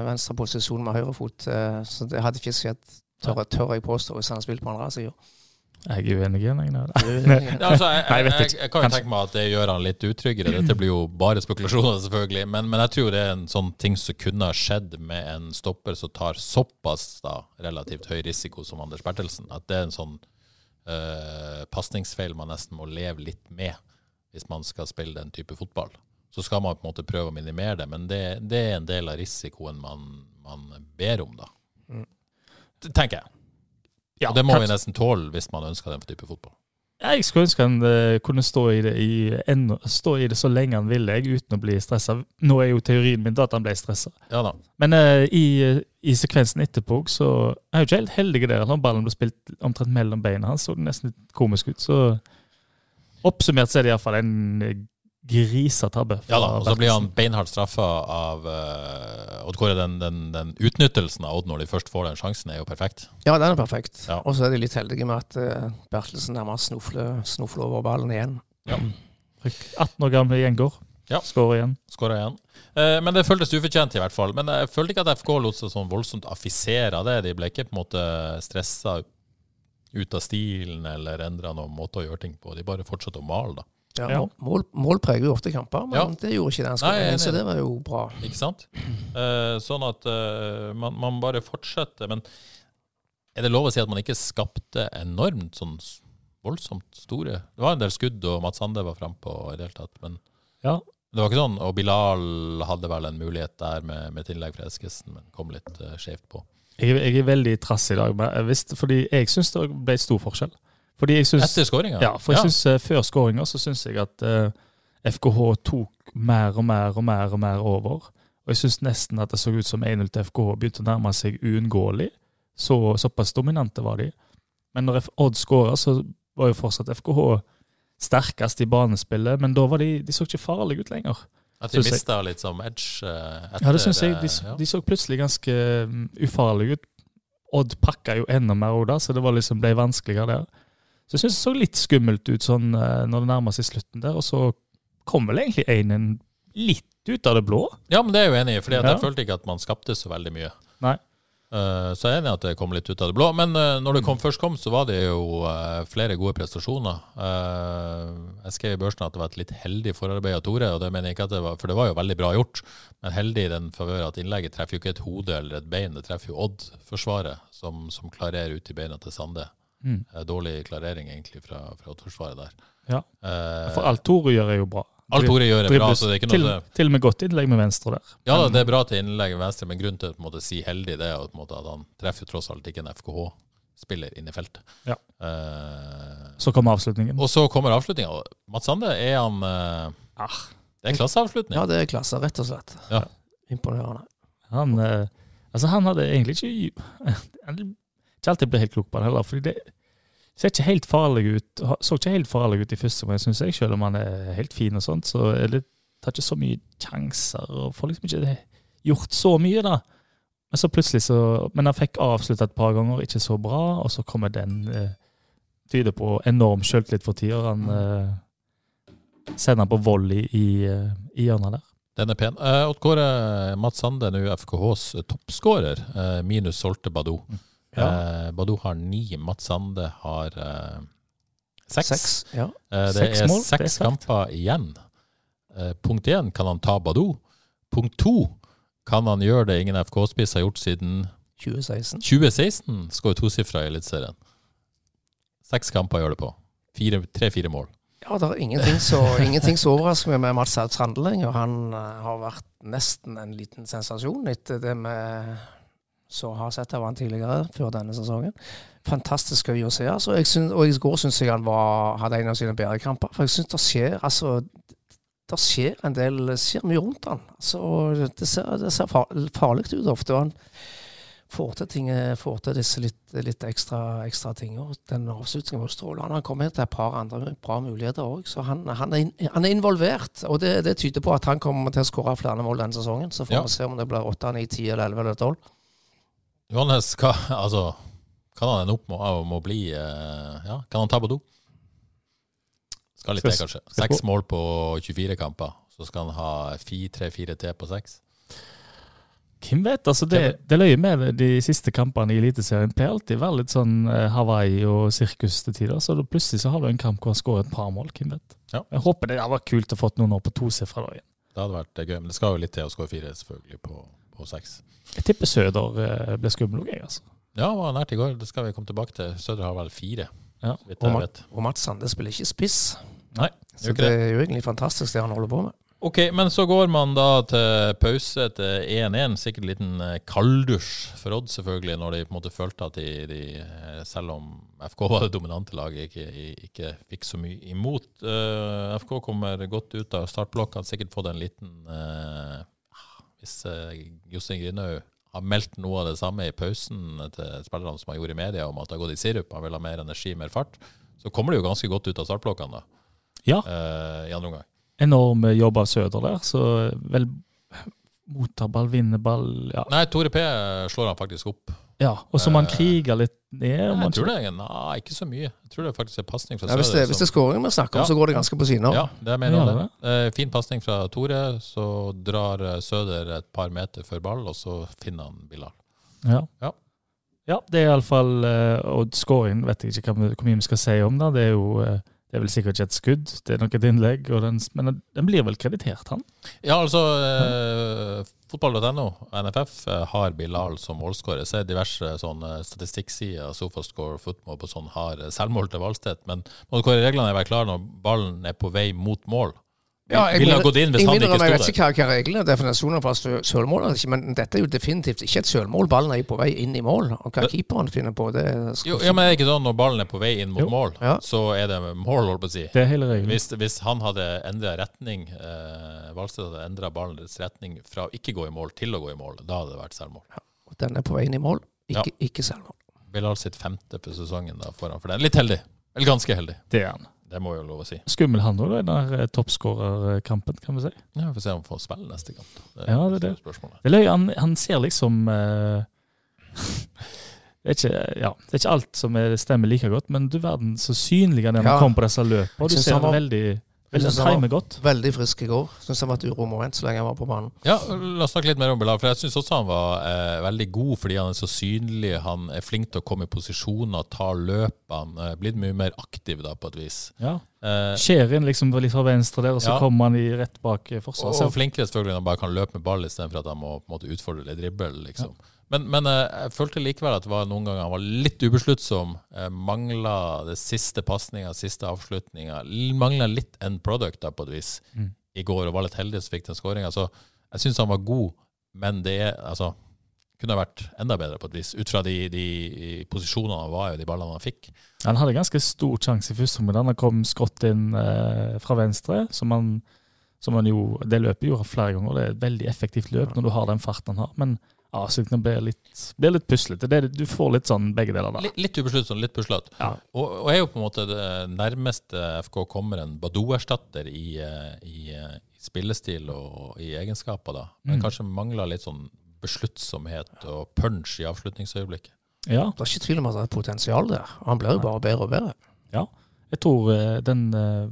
Speaker 2: venstreposisjon med høyrefot. eh, Så det hadde ikke skjedd, tør, tør jeg påstå, hvis han hadde spilt på andre sida.
Speaker 3: Jeg er uenig igjen, jeg. nå.
Speaker 1: Ja, altså, jeg,
Speaker 3: Nei, jeg
Speaker 1: jeg,
Speaker 3: vet
Speaker 1: jeg,
Speaker 3: ikke.
Speaker 1: kan jo
Speaker 3: Kanskje.
Speaker 1: tenke meg at det gjør han litt utryggere. Dette blir jo bare spekulasjoner, selvfølgelig. Men, men jeg tror det er en sånn ting som kunne ha skjedd med en stopper som tar såpass da, relativt høy risiko som Anders Bertelsen. At det er en sånn uh, pasningsfeil man nesten må leve litt med hvis man skal spille den type fotball. Så skal man på en måte prøve å minimere det, men det, det er en del av risikoen man, man ber om, da. Tenker jeg. Og det må vi nesten tåle hvis man ønsker den type fotball.
Speaker 3: Jeg skulle ønske han eh, kunne stå i, det i enda, stå i det så lenge han ville, jeg, uten å bli stressa. Nå er jo teorien min da at han ble stressa.
Speaker 1: Ja da.
Speaker 3: Men eh, i, i sekvensen etterpå så er jeg jo ikke helt heldig der. Når ballen ble spilt omtrent mellom beina hans, så det nesten litt komisk ut. Så oppsummert så er det iallfall en eh, grisetabbe. fra
Speaker 1: Ja da, og så blir han
Speaker 3: Bertelsen.
Speaker 1: beinhardt straffa av eh, Odd Kåre. Den, den, den utnyttelsen av Odd når de først får den sjansen, er jo perfekt.
Speaker 2: Ja, den er perfekt.
Speaker 1: Ja.
Speaker 2: Og så er de litt heldige med at eh, Bertelsen nærmest snufler, snufler over ballen igjen.
Speaker 3: 18 år gamle gjengår.
Speaker 1: Ja.
Speaker 3: Skårer igjen.
Speaker 1: Skåra igjen. Eh, men det føltes ufortjent, i hvert fall. Men jeg følte ikke at FK lot seg sånn voldsomt affisere av det. De ble ikke på en måte stressa ut av stilen eller endra noen måte å gjøre ting på. De bare fortsatte å male, da.
Speaker 2: Ja,
Speaker 3: Ja.
Speaker 2: Mål, mål preger jo ofte kamper, men
Speaker 1: Ja.
Speaker 2: det gjorde ikke den
Speaker 1: Nei, jeg er
Speaker 2: skåringen, så
Speaker 1: enig.
Speaker 2: det var jo bra.
Speaker 1: Ikke sant? Eh, sånn at eh, man, man bare fortsetter. Men er det lov å si at man ikke skapte enormt sånn s- voldsomt store Det var en del skudd, og Mats Sande var frampå i det hele tatt, men
Speaker 3: Ja.
Speaker 1: det var ikke sånn. Og Bilal hadde vel en mulighet der med, med et innlegg fra Eskesen, men kom litt uh, skjevt på.
Speaker 3: Jeg, er- jeg er veldig trass i dag, men jeg visste- fordi jeg syns det ble stor forskjell. Fordi jeg synes,
Speaker 1: Etter skåringa?
Speaker 3: Ja, for jeg synes, eh, før skåringa så syns jeg at eh, FKH tok mer og mer og mer og mer over. Og jeg syns nesten at det så ut som 1-0 til FKH begynte å nærme seg uunngåelig. Så, såpass dominante var de. Men når F Odd skåra, så var jo fortsatt FKH sterkest i banespillet. Men da var de, de så ikke farlige ut lenger.
Speaker 1: At de
Speaker 3: synes jeg-
Speaker 1: mista litt som edge eh, etter
Speaker 3: Ja, det syns jeg. De,
Speaker 1: eh,
Speaker 3: så-
Speaker 1: ja.
Speaker 3: de så plutselig ganske mm, ufarlige ut. Odd pakka jo enda mer òg, så det var liksom ble vanskeligere der. Så jeg syns det så litt skummelt ut sånn eh, når det nærmer seg slutten der, og så kom vel egentlig 1-1 litt ut av det blå.
Speaker 1: Ja, men det er jeg jo enig i, for
Speaker 3: Ja.
Speaker 1: jeg følte ikke at man skapte så veldig mye.
Speaker 3: Nei.
Speaker 1: Eh, så jeg er enig i at det kom litt ut av det blå. Men eh, når det
Speaker 3: Mm.
Speaker 1: kom, først kom, så var det jo eh, flere gode prestasjoner. Eh, jeg skrev i børsen at det var et litt heldig forarbeid av Tore, og det mener jeg ikke at det var, for det var jo veldig bra gjort. Men heldig i den favør at innlegget treffer jo ikke et hode eller et bein, det treffer jo Odd-forsvaret, som, som klarerer ut i beina til Sande.
Speaker 3: Mm.
Speaker 1: Eh, dårlig klarering, egentlig, fra, fra Odd-forsvaret der.
Speaker 3: Ja.
Speaker 1: Eh,
Speaker 3: For alt Tore gjør, er jo bra.
Speaker 1: alt Tore gjør, er bra,
Speaker 3: Dribles
Speaker 1: så det er ikke
Speaker 3: til,
Speaker 1: noe
Speaker 3: til og med godt innlegg med venstre der.
Speaker 1: ja da, det er bra til innlegget med venstre, men grunnen til å på en måte si heldig, det er jo på en måte at han treffer jo tross alt ikke en FKH-spiller inn i feltet.
Speaker 3: Ja.
Speaker 1: Eh,
Speaker 3: Så kom avslutningen.
Speaker 1: og så kommer avslutninga. Mats Sande, er han eh, Det er klasseavslutning.
Speaker 2: Ah. Ja, det er klasse, rett og slett.
Speaker 1: Ja.
Speaker 2: Imponerende.
Speaker 3: Han, eh, altså han hadde egentlig ikke Han ikke alltid blitt helt klok på han heller. fordi det ser ikke helt farlig ut, ha- så ikke helt farlig ut i første omgang, syns jeg. Selv om han er helt fin og sånt, så er det, tar ikke så mye sjanser og får liksom ikke det, gjort så mye, da. Men så plutselig så Men han fikk avslutta et par ganger, ikke så bra, og så kommer den eh, Tyder på enorm sjøltillit for tider. Han eh, sender han på volley i, eh, i hjørnet der.
Speaker 1: Den er pen. Eh, Odd Kåre, Mats Sande er nå FKHs toppskårer, eh, minus solgte Badou. Eh, Badou har ni, Mats Sande har eh, seks.
Speaker 2: Seks. Ja.
Speaker 1: Eh, Det
Speaker 3: Seks
Speaker 1: er
Speaker 3: mål, det er
Speaker 1: seks
Speaker 3: sterkt.
Speaker 1: kamper igjen. Eh, Punkt én, kan han ta Badou? Punkt to, kan han gjøre det ingen FK-spiss har gjort siden
Speaker 2: 2016.
Speaker 1: 2016? Skåret tosifra i Eliteserien. Seks kamper gjør det på. Tre-fire mål.
Speaker 2: Ja, det er ingenting så- ingenting som overrasker meg med Mats Alf Sande lenger. Han eh, har vært nesten en liten sensasjon etter det vi så har sett av han tidligere, før denne sesongen. Fantastisk gøy å se. Altså. Jeg syns- og i går syns jeg han var, hadde en av sine bedre kamper. For jeg syns det skjer altså det skjer en del det skjer mye rundt han. Altså, det ser, det ser far- farlig ut ofte. og han får til, ting, eh, får til disse litt, litt ekstra, ekstra tingene. og Den avslutningen var jo strålende. Han kom inn til et par andre bra muligheter òg, så han, han, er, in- han er involvert. Og det, det tyder på at han kommer til å skåre flere mål denne sesongen. Så får
Speaker 1: Ja.
Speaker 2: vi se om det blir 8, 9, 10, eller 11 eller 12.
Speaker 1: Johannes, hva, altså, kan han ende opp med å- med å bli eh, Ja, kan han ta på do? Skal litt til,
Speaker 3: Skal-
Speaker 1: kanskje.
Speaker 3: skal-
Speaker 1: Seks mål på 24 kamper. Så skal han ha fi- tre-fire til på seks.
Speaker 3: Hvem vet? altså Det, det løye med de siste kampene i Eliteserien pleier alltid å være litt sånn eh, Hawaii og sirkus til tider. Så da plutselig så har du en kamp hvor han skårer et par mål. Hvem vet?
Speaker 1: Ja.
Speaker 3: Jeg håper det hadde vært kult å få noen år på tosifra da igjen.
Speaker 1: Det hadde vært eh, gøy, men det skal jo litt til å skåre fire, selvfølgelig, på, på seks.
Speaker 3: Jeg tipper Søder eh, ble skummel òg, jeg, altså.
Speaker 1: Ja, det var nært i går. Det skal vi komme tilbake til. Sødre har vel fire.
Speaker 3: Ja.
Speaker 1: så vidt
Speaker 2: Og,
Speaker 1: jeg
Speaker 2: Ma-
Speaker 1: vet.
Speaker 2: og Mats Sande spiller ikke spiss.
Speaker 1: Nei,
Speaker 2: Så
Speaker 1: gjør ikke
Speaker 2: det
Speaker 1: det.
Speaker 2: er jo egentlig fantastisk det han holder på med.
Speaker 1: Ok, men så går man da til pause til 1-1. Sikkert en liten eh, kalddusj for Odd, selvfølgelig, når de på en måte følte at de, de eh, selv om FK var det dominante laget, ikke, ikke fikk så mye imot. Eh, FK kommer godt ut av startblokka. Har Sikkert fått en liten eh, Hvis uh, Jostein Grinhaug har meldt noe av det samme i pausen til spillerne som han gjorde i media, om at det har gått i sirup, han vil ha mer energi, mer fart, så kommer det jo ganske godt ut av startblokkene da,
Speaker 3: Ja,
Speaker 1: eh, i andre omgang.
Speaker 3: enorm eh, jobb av Søder der, så eh, vel Mottar ball, vinner ball Ja,
Speaker 1: Nei, Tore P slår han faktisk opp.
Speaker 3: ja. og så man
Speaker 1: Eh,
Speaker 3: kriger litt ned.
Speaker 1: Nei,
Speaker 3: man-
Speaker 1: jeg tror det er, nei, ikke så mye. Jeg tror det er faktisk en pasning fra
Speaker 2: Ja, hvis, det,
Speaker 1: Søder.
Speaker 2: hvis det
Speaker 1: som-
Speaker 2: er skåringen vi snakker om,
Speaker 1: Ja.
Speaker 2: så går det ganske på siden av.
Speaker 1: ja, det mener jeg
Speaker 3: Ja,
Speaker 1: det. Eh, fin pasning fra Tore, så drar eh, Søder et par meter før ball, og så finner han Bilal.
Speaker 3: Ja.
Speaker 1: Ja.
Speaker 3: Ja, det er iallfall Odd-scoring. eh, Vet jeg ikke hva, vi- hvor mye vi skal si om det. Det er jo eh, det er vel sikkert ikke et skudd, det er nok et innlegg, og den, men den- den blir vel kreditert, han?
Speaker 1: Ja, altså eh, Fotball.no, NFF, eh, har Bilal som målskårer. Jeg ser diverse sånne statistikksider, Sofascore, Football på sånn har eh, selvmål til Valstedt, men målskårerreglene er vel klare når ballen er på vei mot mål.
Speaker 2: Ja, jeg
Speaker 1: Ville ha
Speaker 2: mener-
Speaker 1: gått inn hvis
Speaker 2: jeg
Speaker 1: han
Speaker 2: mener
Speaker 1: ikke
Speaker 2: om Jeg
Speaker 1: sto
Speaker 2: vet
Speaker 1: der.
Speaker 2: ikke hva, hva reglene og definisjoner for sø- sølvmål er, ikke, men dette er jo definitivt ikke et sølvmål. Ballen er jo på vei inn i mål, og hva
Speaker 1: Men-
Speaker 2: keeperen finner på, det skal
Speaker 1: Jo, ja, men er det ikke sånn når ballen er på vei inn mot
Speaker 3: Jo.
Speaker 1: mål,
Speaker 2: Ja.
Speaker 1: så er det mål, holdt på å si.
Speaker 3: Det er hele regelen.
Speaker 1: Hvis, hvis han hadde endra retning, eh, Valstedt hadde endra ballens retning fra å ikke gå i mål til å gå i mål, da hadde det vært selvmål.
Speaker 2: Den er på vei inn i mål,
Speaker 1: Ja.
Speaker 2: ikke, ikke selvmål.
Speaker 1: Bilal sitt femte på sesongen da foran for den. Litt heldig. Eller ganske heldig.
Speaker 3: Det er han.
Speaker 1: Det må jo lov å si.
Speaker 3: Skummel han òg, den der eh, toppskårerkampen, kan vi si.
Speaker 1: Ja, Vi får se om han får spille neste kamp. da.
Speaker 3: Ja, det er det.
Speaker 1: spørsmålet.
Speaker 3: Det er løy, han, han ser liksom eh, det, er ikke, ja, det er ikke alt som er- stemmer like godt, men du verden så synlig han er når
Speaker 2: Ja.
Speaker 3: han kommer på disse løpene. Du
Speaker 2: synes
Speaker 3: ser
Speaker 2: han var-
Speaker 3: veldig,
Speaker 2: Jeg
Speaker 3: veldig
Speaker 2: synes
Speaker 3: han
Speaker 2: han var-
Speaker 3: timer godt.
Speaker 2: Veldig frisk i går. Syns han var et uromoment så lenge han var på banen.
Speaker 1: Ja, La oss snakke litt mer om Bilal. For jeg syns også han var eh, veldig god fordi han er så synlig. Han er flink til å komme i posisjoner, ta løpene. Eh, blitt mye mer aktiv da, på et vis.
Speaker 3: Ja.
Speaker 1: Eh,
Speaker 3: Skjer inn liksom litt fra venstre der, og så
Speaker 1: Ja.
Speaker 3: kommer han i rett bak eh,
Speaker 1: Og,
Speaker 3: forsvaret.
Speaker 1: og
Speaker 3: Så-
Speaker 1: flinkere selvfølgelig når han bare kan løpe med ball istedenfor at han må på en måte utfordre eller drible. Liksom. Men, men eh, jeg følte likevel at det var noen ganger han var litt ubesluttsom. eh, Mangla det siste pasninga, siste avslutninga. Mangla litt end product da, på et vis
Speaker 3: Mm.
Speaker 1: i går, og var litt heldig som fikk den skåringa. Så jeg syns han var god, men det er altså kunne ha vært enda bedre på et vis, ut fra de, de posisjonene han var i, og de ballene han fikk.
Speaker 3: Han hadde ganske stor sjanse i første omgang. Han kom skrått inn eh, fra venstre, som han, som han jo Det løpet gjorde han flere ganger. Det er et veldig effektivt løp når du har den farten han har. Men avslutningen blir litt, blir litt puslete. Det, er- du får litt sånn begge deler der.
Speaker 1: Litt, litt ubesluttsom, litt puslete.
Speaker 3: Ja.
Speaker 1: Og, og er jo på en måte det nærmeste FK kommer en Badou-erstatter i, eh, i, eh, i spillestil og i egenskaper, da. Men
Speaker 3: Mm.
Speaker 1: kanskje mangler litt sånn besluttsomhet og punch i avslutningsøyeblikket.
Speaker 3: Ja.
Speaker 2: Det er ikke tvil om at det er et potensial der. Han blir jo bare bedre og bedre.
Speaker 3: Jeg tror eh, den eh,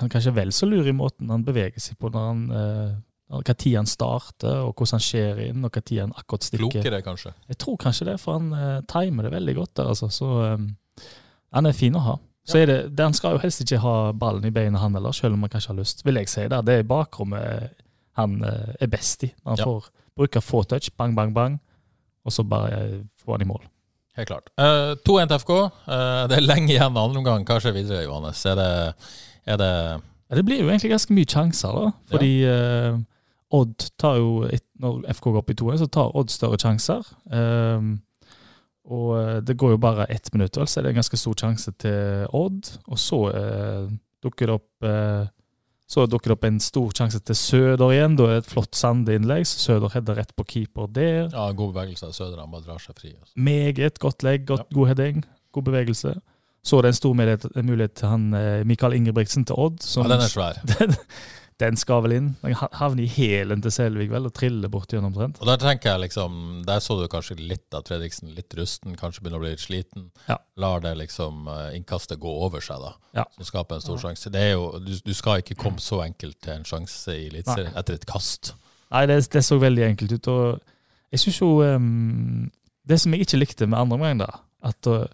Speaker 3: Han er kanskje vel så lur i måten han beveger seg på når han eh, hva tid han starter, og hvordan han skjer inn, og hva tid han akkurat stikker.
Speaker 1: Klokere, kanskje.
Speaker 3: Jeg tror kanskje det, for han eh, timer det veldig godt der, altså. Så eh, han er fin å ha. Så er det, det, Han skal jo helst ikke ha ballen i beina, han heller, selv om han kanskje har lyst. Vil jeg si der. Det er bakrommet han eh, er best i. Når han
Speaker 1: Ja.
Speaker 3: får bruker få touch, bang, bang, bang, og så bare eh, få han i mål.
Speaker 1: Helt klart. Eh, 2-1 til FK. Eh, det er lenge igjen av andre omgang. Hva skjer videre, Johannes? Er det, er det
Speaker 3: Ja, det blir jo egentlig ganske mye sjanser, da. Fordi eh, Odd tar jo, et- når FK går opp i 2-1, så tar Odd større sjanser. Ehm, og eh, det går jo bare ett minutt, vel, så er det en ganske stor sjanse til Odd. Og så eh, dukker det opp eh, Så dukker det opp en stor sjanse til Søder igjen. Da er det et flott sandeinnlegg. så Søder header rett på keeper der.
Speaker 1: Ja, god bevegelse av Sødra, bare drar seg fri. altså.
Speaker 3: Meget godt legg, godt, god heading, god bevegelse. Så er det en stor mulighet, mulighet til han eh, Mikael Ingebrigtsen til Odd.
Speaker 1: Ja,
Speaker 3: som-
Speaker 1: den er svær.
Speaker 3: den, den skal vel inn. Den ha- havner i hælen til Selvig vel, og triller bort gjennom omtrent.
Speaker 1: Og der tenker jeg liksom, der så du kanskje litt av Fredriksen, litt rusten, kanskje begynner å bli litt sliten.
Speaker 3: Ja.
Speaker 1: Lar det liksom eh, innkastet gå over seg, da.
Speaker 3: Ja.
Speaker 1: Som skaper en stor sjanse. Det er jo, du, du skal ikke komme så enkelt til en sjanse i Eliteserien etter et kast.
Speaker 3: Nei, det, det så veldig enkelt ut. Og jeg syns jo ehm, Det som jeg ikke likte med andre omgang, da, at eh,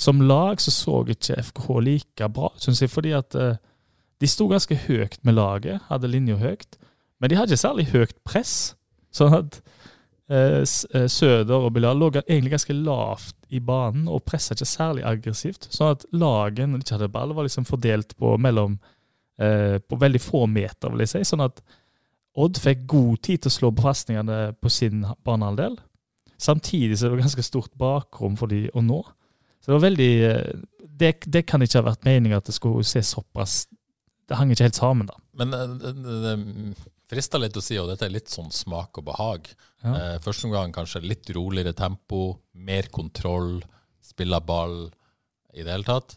Speaker 3: som lag så så ikke FKH like bra, syns jeg, fordi at eh, de sto ganske høyt med laget, hadde linja høyt, men de hadde ikke særlig høyt press. Sånn at eh, S- eh, Søder og Bilal lå ga- egentlig ganske lavt i banen og pressa ikke særlig aggressivt. Sånn at laget, når de ikke hadde ball, var liksom fordelt på mellom eh, På veldig få meter, vil jeg si. Sånn at Odd fikk god tid til å slå pasningene på sin banehalvdel. Samtidig så er det ganske stort bakrom for de å nå. Så det var veldig eh, Det, det kan ikke ha vært meninga at det skulle se såpass Det hang ikke helt sammen, da.
Speaker 1: Men eh, det, det, det frister litt å si, og dette er litt sånn smak og behag.
Speaker 3: Ja.
Speaker 1: Eh, første omgang kanskje litt roligere tempo, mer kontroll, spiller ball i det hele tatt.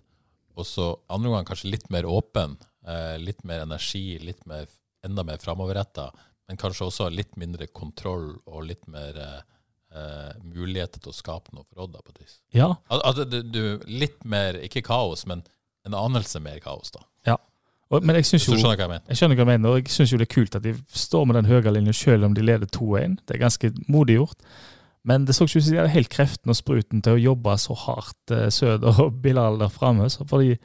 Speaker 1: Og så andre omgang kanskje litt mer åpen, eh, litt mer energi, litt mer, enda mer framoverretta. Men kanskje også litt mindre kontroll og litt mer eh, eh, muligheter til å skape noe for Odd. da, på et vis.
Speaker 3: Ja,
Speaker 1: Al- Altså, du, du, litt mer, ikke kaos, men en anelse mer kaos, da.
Speaker 3: og, men jeg syns
Speaker 1: Hvis
Speaker 3: jo
Speaker 1: du skjønner hva jeg mener.
Speaker 3: Jeg skjønner hva jeg mener, og jeg synes jo det er kult at de står med den høye linja selv om de leder 2-1. Det er ganske modig gjort. Men det så ikke ut som de hadde helt kreften og spruten til å jobbe så hardt eh, Søder og Bilal der framme. Fordi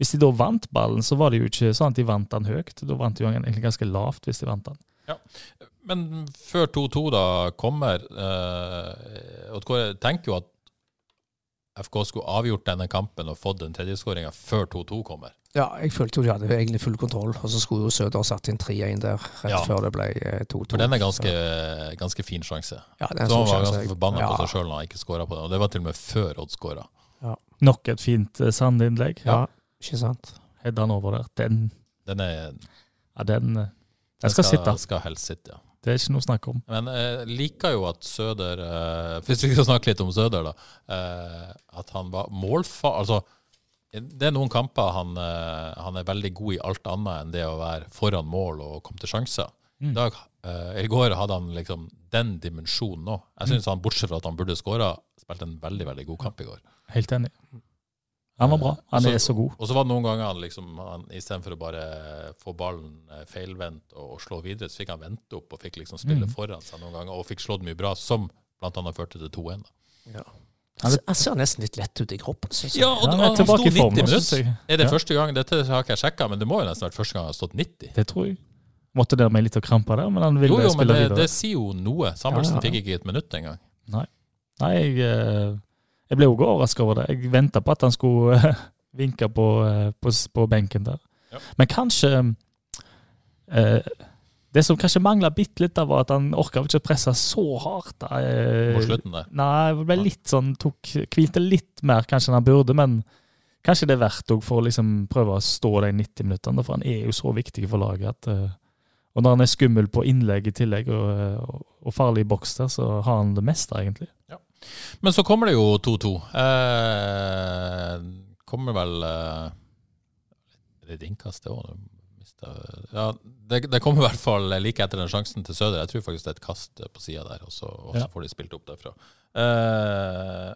Speaker 3: hvis de da vant ballen, så var det jo ikke sånn at de vant den høyt. Da vant de jo egentlig ganske lavt hvis de vant den.
Speaker 1: Men før 2-2 da kommer eh, Odd Kåre tenker jo at FK skulle avgjort denne kampen og fått den tredjeskåringa før 2-2 kommer.
Speaker 2: Ja, jeg følte jo de hadde egentlig full kontroll, og så skulle jo Søder satt inn 3-1 der rett
Speaker 1: Ja.
Speaker 2: før det ble eh, 2-2.
Speaker 1: For den er ganske, ganske fin sjanse.
Speaker 2: ja, det er en
Speaker 1: Så
Speaker 2: stor
Speaker 1: han var
Speaker 2: sjanse,
Speaker 1: ganske
Speaker 2: jeg-
Speaker 1: forbanna på
Speaker 2: ja.
Speaker 1: seg sjøl når han ikke skåra på den. Og det var til og med før Odd skåra.
Speaker 3: Nok et fint eh, sandinnlegg.
Speaker 2: Ja, ikke sant.
Speaker 3: Hedda han over der. Den,
Speaker 1: Den, er,
Speaker 3: ja, den, eh, den skal sitte.
Speaker 1: Skal helst sitte, ja.
Speaker 3: Det er ikke noe å snakke om.
Speaker 1: Men jeg liker jo at Søder eh, Hvis vi skal snakke litt om Søder, da. eh, at han var målfar... Altså, det er noen kamper han, eh, han er veldig god i alt annet enn det å være foran mål og komme til sjanser. I, dag, eh, I går hadde han liksom den dimensjonen òg. Jeg syns han, bortsett fra at han burde skåra, spilte en veldig veldig god kamp i går.
Speaker 3: Helt enig. Han var bra. Han
Speaker 1: Eh,
Speaker 3: er så god.
Speaker 1: Og så var det noen ganger han liksom han, Istedenfor å bare få ballen eh, feilvendt og, og slå videre, så fikk han vente opp og fikk liksom spille
Speaker 3: Mm.
Speaker 1: foran seg noen ganger, og fikk slått mye bra, som blant annet førte til 2-1. da.
Speaker 2: Han, han ser nesten litt lett ut i kroppen, synes jeg.
Speaker 1: Ja, og
Speaker 3: Han
Speaker 1: han
Speaker 3: er
Speaker 1: sto
Speaker 3: tilbake i
Speaker 1: 90
Speaker 3: form. nå, synes
Speaker 1: minutter.
Speaker 3: jeg.
Speaker 1: Er det
Speaker 3: Ja.
Speaker 1: første gang? Dette har ikke jeg sjekka, men det må jo nesten ha vært første gang han har stått 90.
Speaker 3: Det tror jeg. Måtte der med litt å krampe der, men han ville
Speaker 1: Jo, jo, men
Speaker 3: spille
Speaker 1: det,
Speaker 3: videre.
Speaker 1: det sier jo noe. Samuelsen
Speaker 3: Ja, ja, ja.
Speaker 1: fikk ikke et minutt engang.
Speaker 3: Nei, jeg, eh, jeg ble jo overraska over det. Jeg venta på at han skulle eh, vinke på, eh, på, s- på benken der.
Speaker 1: Ja.
Speaker 3: Men kanskje eh, Det som kanskje mangla bitte litt, da, var at han orka vel ikke å presse så hardt. eh,
Speaker 1: På slutten der.
Speaker 3: Nei, det ble litt sånn, tok, hvilte litt mer kanskje enn han burde, men kanskje det er verdt også for å liksom prøve å stå de 90 minuttene, da, for han er jo så viktig for laget. At, eh, og når han er skummel på innlegg i tillegg, og, eh, og, og farlig i boks der, så har han det meste, egentlig.
Speaker 1: Men så kommer det jo 2-2. Eh, kommer vel eh, Det er et innkast, det òg. Ja, det, det kommer i hvert fall like etter den sjansen til Søder. Jeg tror faktisk det er et kast på sida der, og så, og så
Speaker 3: Ja.
Speaker 1: får de spilt opp derfra. Eh,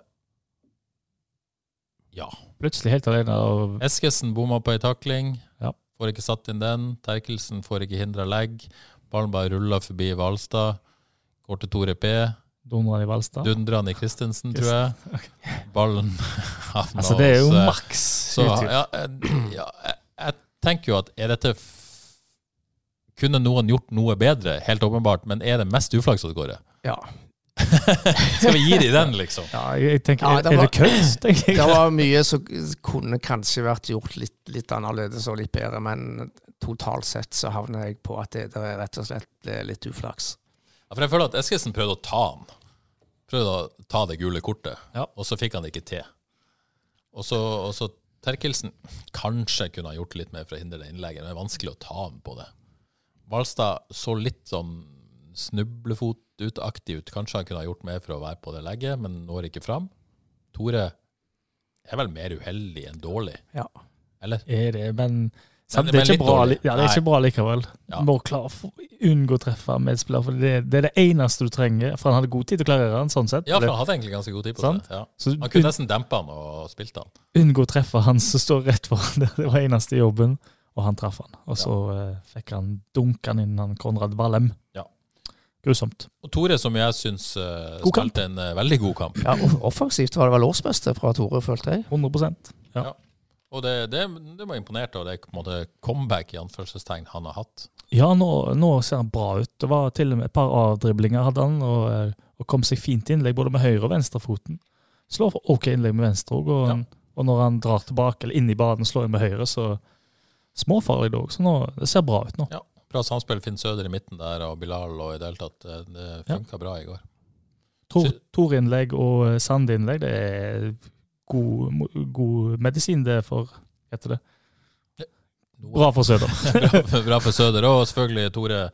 Speaker 1: ja.
Speaker 3: Plutselig helt alene. Og,
Speaker 1: Eskesen bomma på ei takling.
Speaker 3: Ja.
Speaker 1: Får ikke satt inn den. Terkelsen får ikke hindra legg. Ballen bare ruller forbi Hvalstad. Går til Tore P.
Speaker 3: Donald i Valstad.
Speaker 1: Dundrer han i Christensen, tror jeg. Ballen havner
Speaker 3: Altså, det er jo
Speaker 1: hos, eh,
Speaker 3: maks
Speaker 1: så,
Speaker 3: utgift.
Speaker 1: ja, eh, ja, jeg, jeg tenker jo at er dette f- Kunne noen gjort noe bedre? Helt åpenbart. Men er det mest uflaks at det går?
Speaker 2: Ja.
Speaker 1: Skal vi gi dem den, liksom?
Speaker 3: Ja, jeg, jeg tenker,
Speaker 2: Ja,
Speaker 3: er-
Speaker 2: det
Speaker 3: er
Speaker 2: var-
Speaker 3: det kødd? tenker jeg.
Speaker 2: Det var mye som kunne kanskje vært gjort litt, litt annerledes og litt bedre, men totalt sett så havner jeg på at det, det er rett og slett eh, litt uflaks.
Speaker 1: Ja, for jeg føler at Eskesen prøvde å ta han. Prøvde å ta det gule kortet,
Speaker 3: Ja.
Speaker 1: og så fikk han det ikke til. Og så, og så Terkelsen kanskje kunne ha gjort litt mer for å hindre det innlegget, men det er vanskelig å ta ham på det. Valstad så litt sånn snublefotaktig ut. Kanskje han kunne ha gjort mer for å være på det legget, men når ikke fram. Tore er vel mer uheldig enn dårlig,
Speaker 3: Ja.
Speaker 1: eller?
Speaker 3: Er det, men
Speaker 1: Men-
Speaker 3: samt, det,
Speaker 1: men
Speaker 3: er
Speaker 1: litt
Speaker 3: ikke bra,
Speaker 1: dårlig.
Speaker 3: li- ja, det er ikke bra likevel.
Speaker 1: Ja.
Speaker 3: Må klare å få- unngå å treffe medspiller, for det, det er det eneste du trenger. For han hadde god tid til å klarere han, sånn sett.
Speaker 1: Ja, for
Speaker 3: Det-
Speaker 1: han hadde egentlig ganske god tid på
Speaker 3: Sant?
Speaker 1: det. Ja.
Speaker 3: så
Speaker 1: Han kunne
Speaker 3: un,
Speaker 1: nesten dempa han og spilt han.
Speaker 3: unngå å treffe han som står rett foran deg. Det var eneste jobben, og han traff han. Og så eh, fikk han dunkan inn han Konrad Wallem.
Speaker 1: Ja.
Speaker 3: Grusomt.
Speaker 1: Og Tore, som jeg syns eh,
Speaker 3: God kamp.
Speaker 1: spilte en eh, veldig god kamp.
Speaker 2: Ja, og Offensivt var det vel årsbeste fra Tore, følte jeg.
Speaker 3: 100
Speaker 1: Og det, det, det var imponert over det på en måte, comeback i anførselstegn han har hatt.
Speaker 3: Ja, nå, nå ser han bra ut. Det var til og med et par avdriblinger hadde han, og, eh, og kom seg fint innlegg både med høyre- og venstrefoten. Slår for ok innlegg med venstre òg, og,
Speaker 1: Ja.
Speaker 3: og når han drar tilbake eller inn i banen slår inn med høyre, så småfarlig det òg. Så nå, det ser bra ut nå.
Speaker 1: Ja, Bra samspill Finn Søder i midten der, og Bilal og i det hele tatt. eh, Det funka bra i går.
Speaker 3: Tor,
Speaker 1: Så-
Speaker 3: Tor-innlegg og eh, Sand-innlegg, det er god, mo- god medisin det er for Heter det. Bra for Søder.
Speaker 1: bra, for, bra for Søder. Og selvfølgelig Tore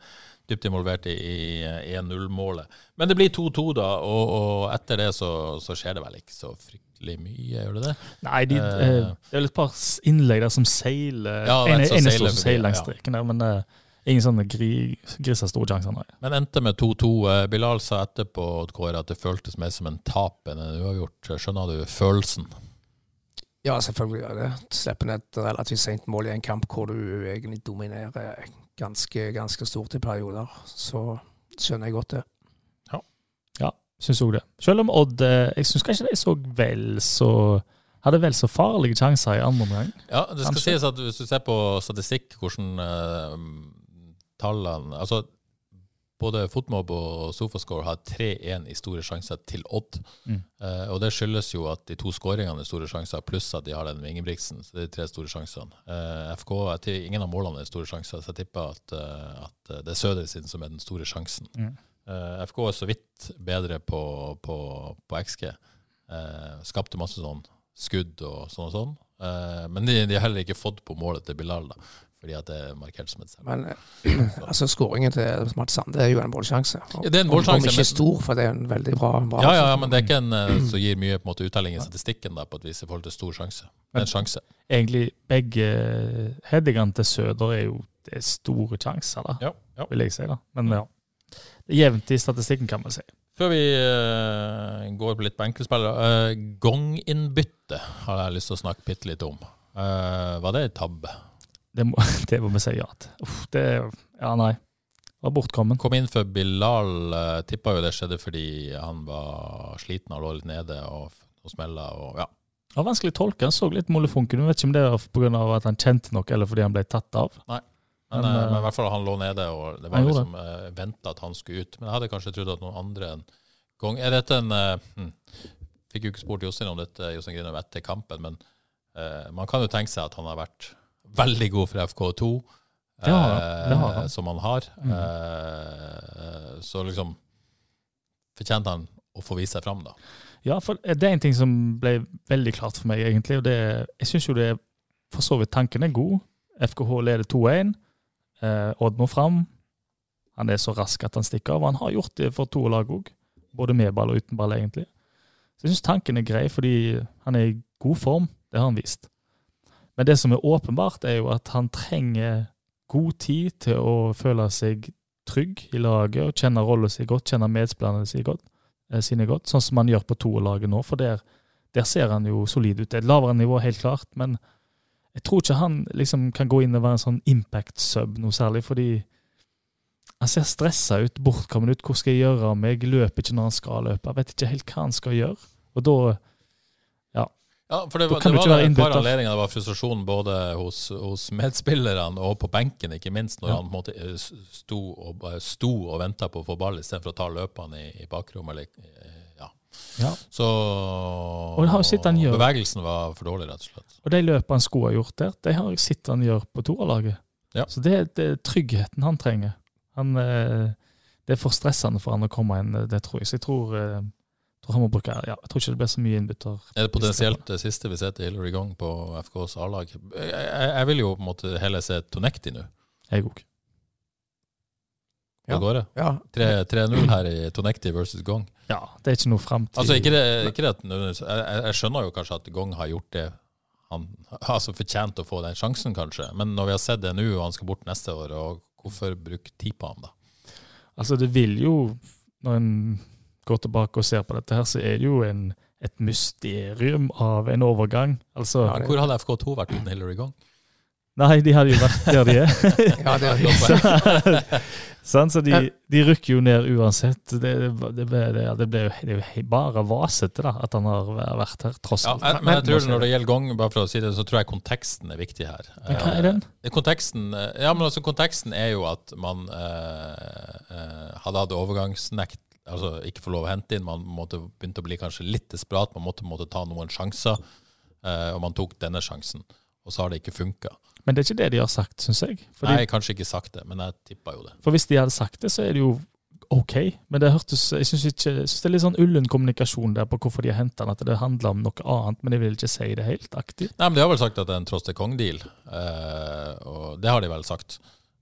Speaker 1: dypt involvert i, i 1-0-målet. Men det blir 2-2, da, og, og etter det så, så skjer det vel ikke så fryktelig mye, gjør det det?
Speaker 3: Nei, de,
Speaker 1: Eh.
Speaker 3: eh, det er vel et par s- innlegg der som seiler.
Speaker 1: Ja, det er
Speaker 3: en,
Speaker 1: en som
Speaker 3: en,
Speaker 1: seiler
Speaker 3: stor som
Speaker 1: forbi,
Speaker 3: seiler langs
Speaker 1: ja.
Speaker 3: streken der, men eh, ingen sånne gri, griser store sjanser. Nei.
Speaker 1: Men endte med 2-2. Eh, Bilal sa etterpå Kåre, at det føltes mer som en tap enn en uavgjort. Skjønner du følelsen?
Speaker 2: Ja, selvfølgelig gjør det. Slipper ned et relativt sent mål i en kamp hvor du egentlig dominerer ganske, ganske stort i perioder. Så skjønner jeg godt det.
Speaker 3: Syns òg det. Selv om Odd eh, Jeg syns kanskje de så vel så Hadde vel så farlige sjanser i andre omgang.
Speaker 1: Ja, det skal
Speaker 3: Kanskje.
Speaker 1: sies at hvis du ser på statistikk, hvordan eh, tallene Altså, både Fotmob og Sofascore har 3-1 i store sjanser til Odd.
Speaker 3: Mm.
Speaker 1: Eh, og det skyldes jo at de to skåringene er store sjanser, pluss at de har den med Ingebrigtsen. Så det er de tre store sjansene. Eh, FK jeg tror ingen av målene er store sjanser, så jeg tipper at, eh, at det er Søder sin som er den store sjansen.
Speaker 3: Mm.
Speaker 1: Eh, FK er så vidt bedre på, på, på XG. Eh, skapte masse sånn skudd og sånn og sånn. Eh, men de, de har heller ikke fått på målet til Bilal, da, fordi at det er markert som et selv.
Speaker 2: Men eh, altså, skåringen til Mats Sande er jo en målsjanse.
Speaker 1: Ja, det er en målsjanse,
Speaker 2: Om ikke
Speaker 1: men-
Speaker 2: stor, for det er en veldig bra, bra
Speaker 1: Ja, ja, ja, men det er ikke en eh, som gir mye på en måte, uttelling i statistikken da, på et vis i forhold til stor sjanse. Det er en sjanse.
Speaker 3: Egentlig begge headingene til Søder er jo det er store sjanser, da,
Speaker 1: Ja, ja.
Speaker 3: vil jeg si. da. Men ja. Det er jevnt i statistikken, kan man si.
Speaker 1: Før vi eh, går på litt på enkeltspillere, eh, gonginnbytte har jeg lyst til å snakke bitte litt om. Eh, var det en tabbe?
Speaker 3: Det må, det må vi si ja til. Uff, det Ja, nei. Det var bortkommen.
Speaker 1: Kom inn for Bilal, uh, tippa jo det skjedde fordi han var sliten og lå litt nede og, og smella og ja.
Speaker 3: Det var vanskelig å tolke. Han så litt molefonken. Jeg vet ikke om det var pga. at han kjente noe, eller fordi han ble tatt av.
Speaker 1: Men,
Speaker 3: Men,
Speaker 1: eh,
Speaker 3: eh,
Speaker 1: men i hvert fall han lå nede, og det var
Speaker 3: han gjorde
Speaker 1: liksom uh, venta at han skulle ut. Men jeg hadde kanskje trodd at noen andre enn Gong Er dette en eh, hm, Fikk jo ikke spurt Jostein om dette Jostein Grinhaug, etter kampen, men eh, man kan jo tenke seg at han har vært veldig god for FK2,
Speaker 3: Det har han, det har han.
Speaker 1: eh, som han har.
Speaker 3: Mhm.
Speaker 1: Eh, så liksom fortjente han å få vise seg fram, da.
Speaker 3: Ja, for det er en ting som ble veldig klart for meg, egentlig. og det, er- Jeg syns jo det er- for så vidt tanken er god. FKH leder 2-1. Eh, Odd må fram. Han er så rask at han stikker av. og Han har gjort det for to lag òg. Både med ball og uten ball, egentlig. Så jeg syns tanken er grei, fordi han er i god form. Det har han vist. Men det som er åpenbart, er jo at han trenger god tid til å føle seg trygg i laget og kjenne rollen sin godt, kjenne medspillerne sine godt eh, sine godt, sånn som han gjør på toerlaget nå. For der, der ser han jo solid ut. Det er et lavere nivå, helt klart, men jeg tror ikke han liksom kan gå inn og være en sånn impact-sub noe særlig, fordi han ser stressa ut, bortkommen ut. Hvor skal jeg gjøre av meg? Løper ikke når han skal løpe. Jeg vet ikke helt hva han skal gjøre. Og da
Speaker 1: Ja, for det
Speaker 3: Da
Speaker 1: var, det
Speaker 3: kan du
Speaker 1: var
Speaker 3: ikke være
Speaker 1: et par
Speaker 3: innbytter.
Speaker 1: anledninger det var frustrasjon både hos, hos medspillerne og på benken, ikke minst, når
Speaker 3: Ja.
Speaker 1: han på en måte eh, s- sto og, bare sto og venta på å få ball istedenfor å ta løpene i, i bakrommet. Eller, eh, ja.
Speaker 3: Ja.
Speaker 1: Så
Speaker 3: det har jo sett han gjøre.
Speaker 1: Bevegelsen var for dårlig, rett og slett.
Speaker 3: Og de løpene han skulle ha gjort der, de har jeg sett han gjør på toerlaget.
Speaker 1: Ja.
Speaker 3: Så det, det er tryggheten han trenger. Han, eh, det er for stressende for han å komme inn, eh, det tror jeg. Så jeg tror eh, tror han må bruke, ja, jeg tror ikke det blir så mye innbytter.
Speaker 1: Er det potensielt det siste vi ser til Hillary Gong på FKs A-lag? Jeg, jeg, jeg vil jo på en måte heller se Tonekti nå.
Speaker 3: Jeg òg.
Speaker 1: Hva
Speaker 2: Ja.
Speaker 1: går det?
Speaker 2: Ja,
Speaker 1: 3-0 her i Tonekti versus Gong.
Speaker 3: Ja, det er ikke noe fremtid.
Speaker 1: Altså, ikke det, ikke det at nødvendigvis- jeg, jeg- jeg skjønner jo kanskje at Gong har gjort det han altså fortjent å få den sjansen, kanskje. Men når vi har sett det nå, og han skal bort neste år, og hvorfor bruke tid på ham da?
Speaker 3: Altså, det vil jo, når en går tilbake og ser på dette her, så er det jo en, et mysterium av en overgang. Altså,
Speaker 2: Ja, det-
Speaker 1: Hvor hadde FK2 vært uten Hillary Gong?
Speaker 3: nei, de hadde jo vært der de er.
Speaker 2: ja, det er
Speaker 1: Godt poeng.
Speaker 3: så, sant? så de, de rykker jo ned uansett. Det, det, det, ble, det, det, ble, jo- det er jo he- bare vasete da, at han har vært her, tross
Speaker 1: Ja, jeg, men jeg
Speaker 3: altså-
Speaker 1: tror når det gjelder Gong, bare for å si det, så tror jeg konteksten er viktig her.
Speaker 3: Men hva er den?
Speaker 1: Eh, Konteksten, eh, ja, men altså, konteksten er jo at man eh, eh, hadde hatt overgangsnekt, altså ikke få lov å hente inn, man måtte begynte å bli kanskje litt desperat, man måtte, måtte ta noen sjanser, eh, og man tok denne sjansen. Og så har det ikke funka.
Speaker 3: Men det er ikke det de har sagt, syns jeg. Fordi,
Speaker 1: Nei, kanskje ikke sagt det, men jeg tippa jo det.
Speaker 3: For hvis de hadde sagt det, så er det jo OK. Men det hørtes, jeg syns det er litt sånn ullen kommunikasjon der på hvorfor de har henta den, at det handler om noe annet, men de vil ikke si det helt aktig.
Speaker 1: Nei, men De har vel sagt at det er en Tross til Kong-deal, eh, og det har de vel sagt.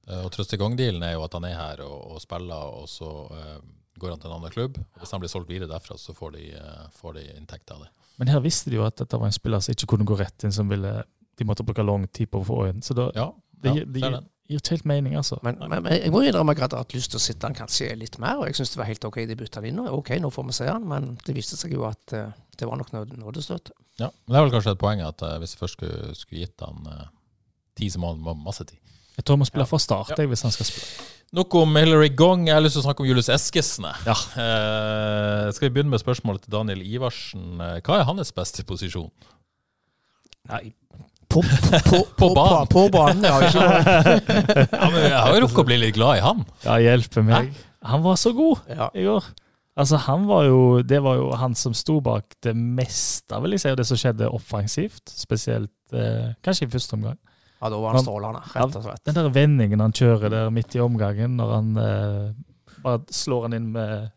Speaker 1: Eh, og Tross til Kong-dealen er jo at han er her og, og spiller, og så eh, går han til en annen klubb. Og Hvis han blir solgt videre derfra, så får de, eh, får de inntekt av det.
Speaker 3: Men her visste de jo at dette var en spiller som ikke kunne gå rett inn, som ville De måtte bruke lang tid på å få inn. Så da,
Speaker 1: Ja,
Speaker 3: det,
Speaker 1: ja,
Speaker 3: gir- det
Speaker 1: ser
Speaker 3: gir,
Speaker 1: den.
Speaker 3: gir ikke helt mening, altså.
Speaker 2: Men, men, men jeg må innrømme at jeg hadde hatt lyst til å sitte han kanskje litt mer, og jeg syns det var helt OK de bytta han inn. og OK, nå får vi se han, men det viste seg jo at eh, det var nok nåd- nådestøt.
Speaker 1: Ja, men det er vel kanskje et poeng at eh, hvis jeg først skulle, skulle gitt han eh, ti, så må han ha masse tid.
Speaker 3: Jeg tror han må spille fra start jeg, hvis han skal spille.
Speaker 1: Nok om Hillary Gong. Jeg har lyst til å snakke om Julius Eskesen. jeg. Eh, skal vi begynne med spørsmålet til Daniel Ivarsen. Eh, Hva er hans beste posisjon?
Speaker 2: Nei, på, på, på,
Speaker 1: På banen.
Speaker 2: På, banen, ja. Ikke,
Speaker 1: Ja, men Jeg har jo rukket å bli litt glad i han.
Speaker 3: Ja, hjelpe meg. Han var så god
Speaker 2: ja.
Speaker 3: i går. Altså, han var jo Det var jo han som sto bak det meste, vil jeg si, av det som skjedde offensivt. Spesielt eh, kanskje i første omgang.
Speaker 2: ja, da var han strålende, rett og slett.
Speaker 3: Den der vendingen han kjører der midt i omgangen, når han eh, bare slår han inn med,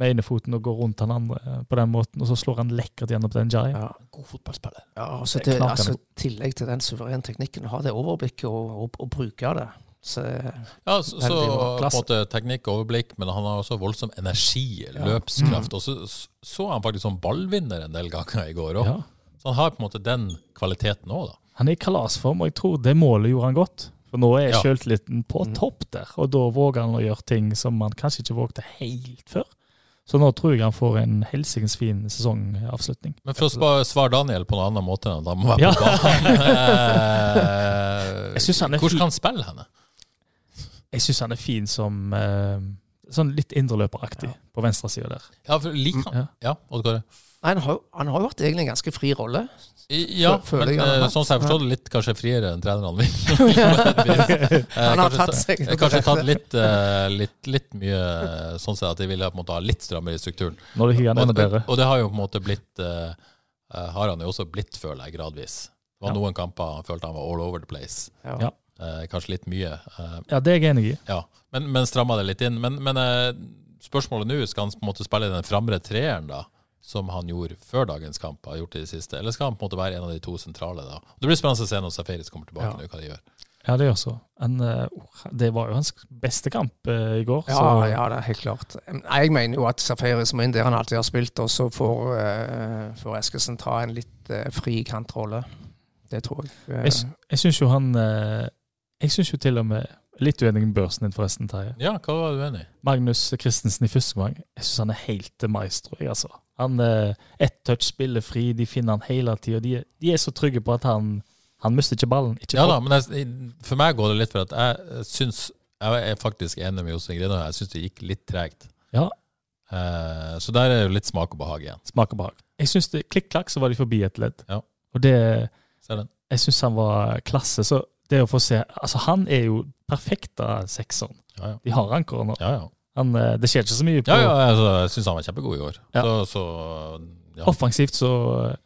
Speaker 3: med ene foten og går rundt han andre eh, på den måten, og så slår han lekkert gjennom den giant.
Speaker 2: Ja.
Speaker 1: God fotballspiller.
Speaker 2: Ja, altså,
Speaker 3: Det er
Speaker 2: det,
Speaker 3: knakende
Speaker 2: altså, tillegg til den suverene teknikken, å ha det overblikket og, og, og bruke det. Så,
Speaker 1: Ja, så, så
Speaker 2: Veldig bra.
Speaker 1: på en
Speaker 2: Klasse.
Speaker 1: måte teknikk og overblikk, men han har også voldsom energi,
Speaker 3: Mm.
Speaker 1: løpskraft. Og så s- så er han faktisk som ballvinner en del ganger i går òg.
Speaker 3: Ja.
Speaker 1: Så han har på en måte den kvaliteten òg, da.
Speaker 3: Han er i kalasform, og jeg tror det målet gjorde han godt. For nå er
Speaker 1: Ja.
Speaker 3: sjøltilliten på topp der, og da våger han å gjøre ting som han kanskje ikke vågte helt før. Så nå tror jeg han får en helsikens fin sesongavslutning.
Speaker 1: Men for å spa- svare Daniel på en annen måte enn at han må være
Speaker 3: Ja.
Speaker 1: på banen eh,
Speaker 3: Jeg synes han er
Speaker 1: Hvor
Speaker 3: fin.
Speaker 1: skal han spille henne?
Speaker 3: Jeg syns han er fin som eh, sånn litt indreløperaktig på venstresida der.
Speaker 1: Ja, for liker han
Speaker 3: Ja.
Speaker 1: Ja, Oddgård.
Speaker 2: nei, han har, jo- han har jo hatt egentlig en ganske fri rolle.
Speaker 1: I- Ja,
Speaker 2: Føler
Speaker 1: men
Speaker 2: jeg han har
Speaker 1: eh,
Speaker 2: hatt.
Speaker 1: sånn som jeg forstår det, litt kanskje friere enn trenerne vil.
Speaker 2: Han har tatt seg
Speaker 1: Jeg har Eh, kanskje tatt litt, eh, litt, litt mye eh, sånn sett at de ville på en måte ha litt strammere i strukturen.
Speaker 3: Nå liker jeg han
Speaker 1: Og,
Speaker 3: enda bedre.
Speaker 1: og det har jo på en måte blitt eh, eh, Har han jo også blitt, føler jeg, gradvis. Det var
Speaker 3: Ja.
Speaker 1: noen kamper han følte han var all over the place.
Speaker 2: Ja.
Speaker 3: Ja.
Speaker 1: Eh, kanskje litt mye. eh,
Speaker 3: Ja, det er jeg enig i.
Speaker 1: ja. Men, men stramma det litt inn. Men, men eh, spørsmålet nå, skal han på en måte spille den framre treeren, da? Som han gjorde før dagens kamp, har gjort i det siste. Eller skal han på en måte være en av de to sentrale, da? Det blir spennende å se når Safaris kommer tilbake
Speaker 2: Ja.
Speaker 1: nå, hva de gjør.
Speaker 3: Ja, det gjør så. Han, eh, oh, det var jo hans beste kamp eh, i går.
Speaker 2: Ja,
Speaker 3: så
Speaker 2: ja, det er helt klart. Nei, Jeg mener jo at Safaris må inn der han alltid har spilt, og så får, eh, får Eskesen ta en litt eh, fri kantrolle. Det tror jeg. Eh,
Speaker 3: Jeg, sy- jeg syns jo han eh, Jeg syns jo til og med Litt uenig med børsen din, forresten, Terje.
Speaker 1: Ja, hva var du enig i?
Speaker 3: Magnus Christensen i første omgang. Jeg syns han er helt eh, maestro, jeg, altså. Han eh, Ett touch, spiller fri, de finner han hele tida. De, er- de er så trygge på at han Han mister ikke ballen. Ikke
Speaker 1: Ja da, men jeg, for meg går det litt for at jeg syns Jeg er faktisk enig med Jostein Grinaud. Jeg syns det gikk litt tregt.
Speaker 3: Ja.
Speaker 1: Eh, så der er det jo litt smak og behag igjen.
Speaker 3: smaker behag. Jeg syns klikk-klakk, så var de forbi et ledd.
Speaker 1: Ja.
Speaker 3: Og det
Speaker 1: Ser den?
Speaker 3: jeg syns han var klasse. Så det å få se Altså, han er jo perfekt av sekseren.
Speaker 1: Ja, ja.
Speaker 3: De har ankeret nå.
Speaker 1: Ja, ja.
Speaker 3: Han, eh, det skjer ikke så mye på
Speaker 1: ja, ja altså, jeg syns han var kjempegod i år.
Speaker 3: Ja.
Speaker 1: Så, så ja.
Speaker 3: offensivt, så eh,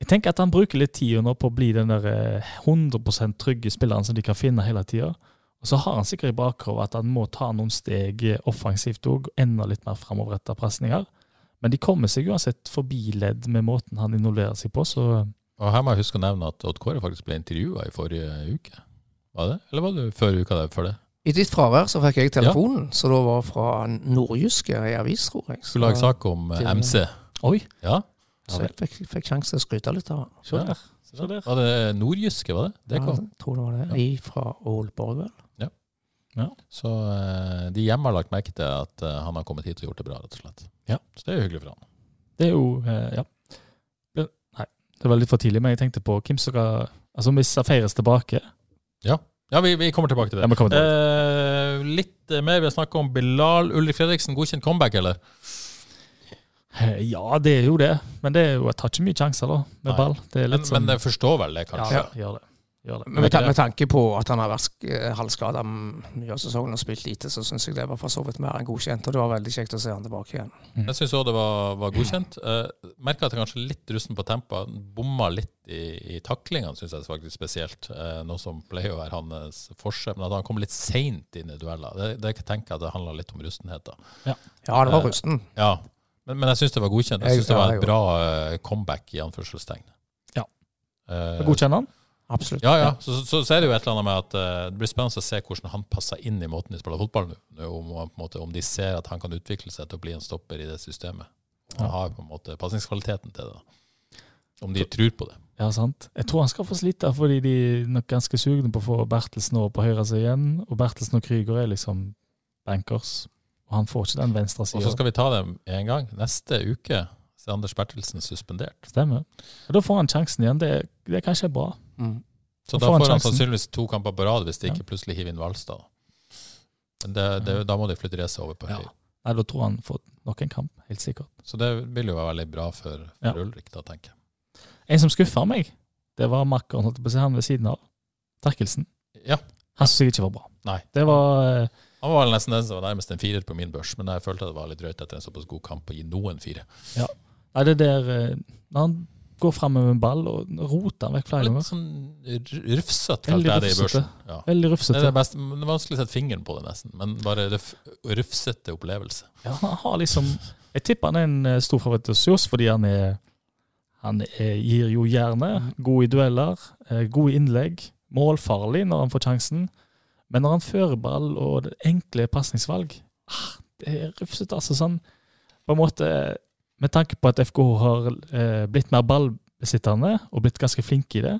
Speaker 3: Jeg tenker at han bruker litt tid nå på å bli den der eh, 100 trygge spilleren som de kan finne hele tida. Og så har han sikkert i bakhodet at han må ta noen steg eh, offensivt òg, enda litt mer framoverretta pasninger. Men de kommer seg uansett forbi ledd med måten han involverer seg på, så
Speaker 1: Og her må jeg huske å nevne at Odd Kåre faktisk ble intervjua i forrige uke. Var det? Eller var det før uka der før det?
Speaker 2: I ditt fravær så fikk jeg telefonen, så da var fra Nordjyske i avis, tror jeg. Så,
Speaker 1: Skulle lage sak om eh,
Speaker 2: til-
Speaker 1: MC.
Speaker 3: Oi,
Speaker 1: Ja.
Speaker 2: så jeg fikk, fikk sjanse til å skryte litt av den.
Speaker 3: se
Speaker 1: Ja.
Speaker 3: der. Se der.
Speaker 1: Var det nordjyske, var det? Det
Speaker 2: Ja,
Speaker 1: kom.
Speaker 2: jeg tror det var det. I fra Aalborg, vel.
Speaker 1: Så eh, de hjemme har lagt merke til at eh, han har kommet hit og gjort det bra, rett og slett.
Speaker 3: Ja.
Speaker 1: Så det er jo hyggelig for han.
Speaker 3: Det er jo eh, Ja. Det- Nei, det var litt for tidlig, men jeg tenkte på hvem som skal Altså, hvis Safaris tilbake
Speaker 1: Ja, vi, vi kommer tilbake til det.
Speaker 3: Ja, vi kommer
Speaker 1: Eh, litt mer vi har snakket om Bilal Ulrik Fredriksen. Godkjent comeback, eller?
Speaker 3: eh, Ja, det er jo det, men det er jo, jeg tar ikke mye sjanser da, med
Speaker 1: Nei.
Speaker 3: ball. Det er
Speaker 1: Men,
Speaker 3: litt sånn
Speaker 1: men jeg forstår vel det,
Speaker 3: ja,
Speaker 1: kanskje?
Speaker 3: ja, gjør det. Gjør det.
Speaker 2: Men med, tan- med tanke på at han har vært sk- eh, halvskada mye av sesongen og spilt lite, så syns jeg det var for så vidt mer enn godkjent. Og det var veldig kjekt å se han tilbake igjen.
Speaker 1: Jeg syns òg det var, var godkjent. Uh, Merka at jeg kanskje er litt rusten på tempa. Bomma litt i, i taklingene, syns jeg faktisk spesielt. Eh, noe som pleier å være hans forskjell. Men at han kom litt seint inn i dueller, det, det tenker jeg at det handla litt om rustenhet. da.
Speaker 2: Ja, det var
Speaker 1: Eh,
Speaker 2: rusten.
Speaker 1: Ja, Men, men jeg syns det var godkjent. Jeg
Speaker 2: Jeg-
Speaker 1: syns det var et
Speaker 2: ja, jeg
Speaker 1: bra eh, comeback, i anførselstegn.
Speaker 3: Ja.
Speaker 1: Eh,
Speaker 3: Godkjenner han?
Speaker 2: Absolutt.
Speaker 1: ja, ja. Så, så, så er det jo et eller annet med at eh, det blir spennende å se hvordan han passer inn i måten de spiller fotball nå. nå. Om, han på en måte, om de ser at han kan utvikle seg til å bli en stopper i det systemet. Han
Speaker 3: Ja.
Speaker 1: har på en måte pasningskvaliteten til det. da. Om de tror på det.
Speaker 3: Ja, sant. Jeg tror han skal få slite, fordi de er nok ganske sugne på å få Bertelsen over på høyre side igjen. Og Bertelsen og Krüger er liksom bankers, og han får ikke den venstre
Speaker 1: Og så
Speaker 3: sida.
Speaker 1: skal vi ta dem én gang. Neste uke så er Anders Bertelsen suspendert.
Speaker 3: Stemmer. Og da får han sjansen igjen. Det, det er kanskje bra.
Speaker 2: Mm.
Speaker 1: Så
Speaker 3: Og
Speaker 1: da får
Speaker 3: får han
Speaker 1: han
Speaker 3: sjansen.
Speaker 1: sannsynligvis to kamper på rad hvis de
Speaker 3: Ja.
Speaker 1: ikke plutselig hiver inn Hvalstad. Men det, det, da må de flytte racet over på
Speaker 3: Ja.
Speaker 1: høyre.
Speaker 3: Nei, da tror han får nok en kamp, helt sikkert.
Speaker 1: Så det vil jo være veldig bra for, for
Speaker 3: Ja.
Speaker 1: Ulrik, da, tenker jeg.
Speaker 3: En som skuffa meg, det var makkeren, holdt jeg på å si, han ved siden av. Terkelsen.
Speaker 1: Ja.
Speaker 3: Han syntes jeg ikke var bra.
Speaker 1: Nei.
Speaker 3: Det var eh,
Speaker 1: Han var vel nesten den som var nærmest en firer på min børs, men jeg følte det var litt drøyt etter en såpass god kamp å gi noen fire.
Speaker 3: Nei, det der eh, Når han går fram med en ball og roter han vekk flere
Speaker 1: Litt
Speaker 3: ganger.
Speaker 1: sånn rufsete,
Speaker 3: Veldig
Speaker 1: kalte jeg det i
Speaker 3: rufsete.
Speaker 1: børsen. Ja.
Speaker 3: Veldig
Speaker 1: Det er
Speaker 3: rufsete.
Speaker 1: det beste, men det er vanskelig å sette fingeren på det, nesten. Men bare det f- rufsete opplevelse.
Speaker 3: Ja, han har liksom Jeg tipper han er en eh, stor favoritt hos oss fordi han er Han er, gir jo jernet. God i dueller, eh, god i innlegg. Målfarlig når han får sjansen. Men når han fører ball og det enkle pasningsvalg ah, Det er rufsete, altså. Sånn på en måte Med tanke på at FKH har eh, blitt mer ballbesittende og blitt ganske flinke i det,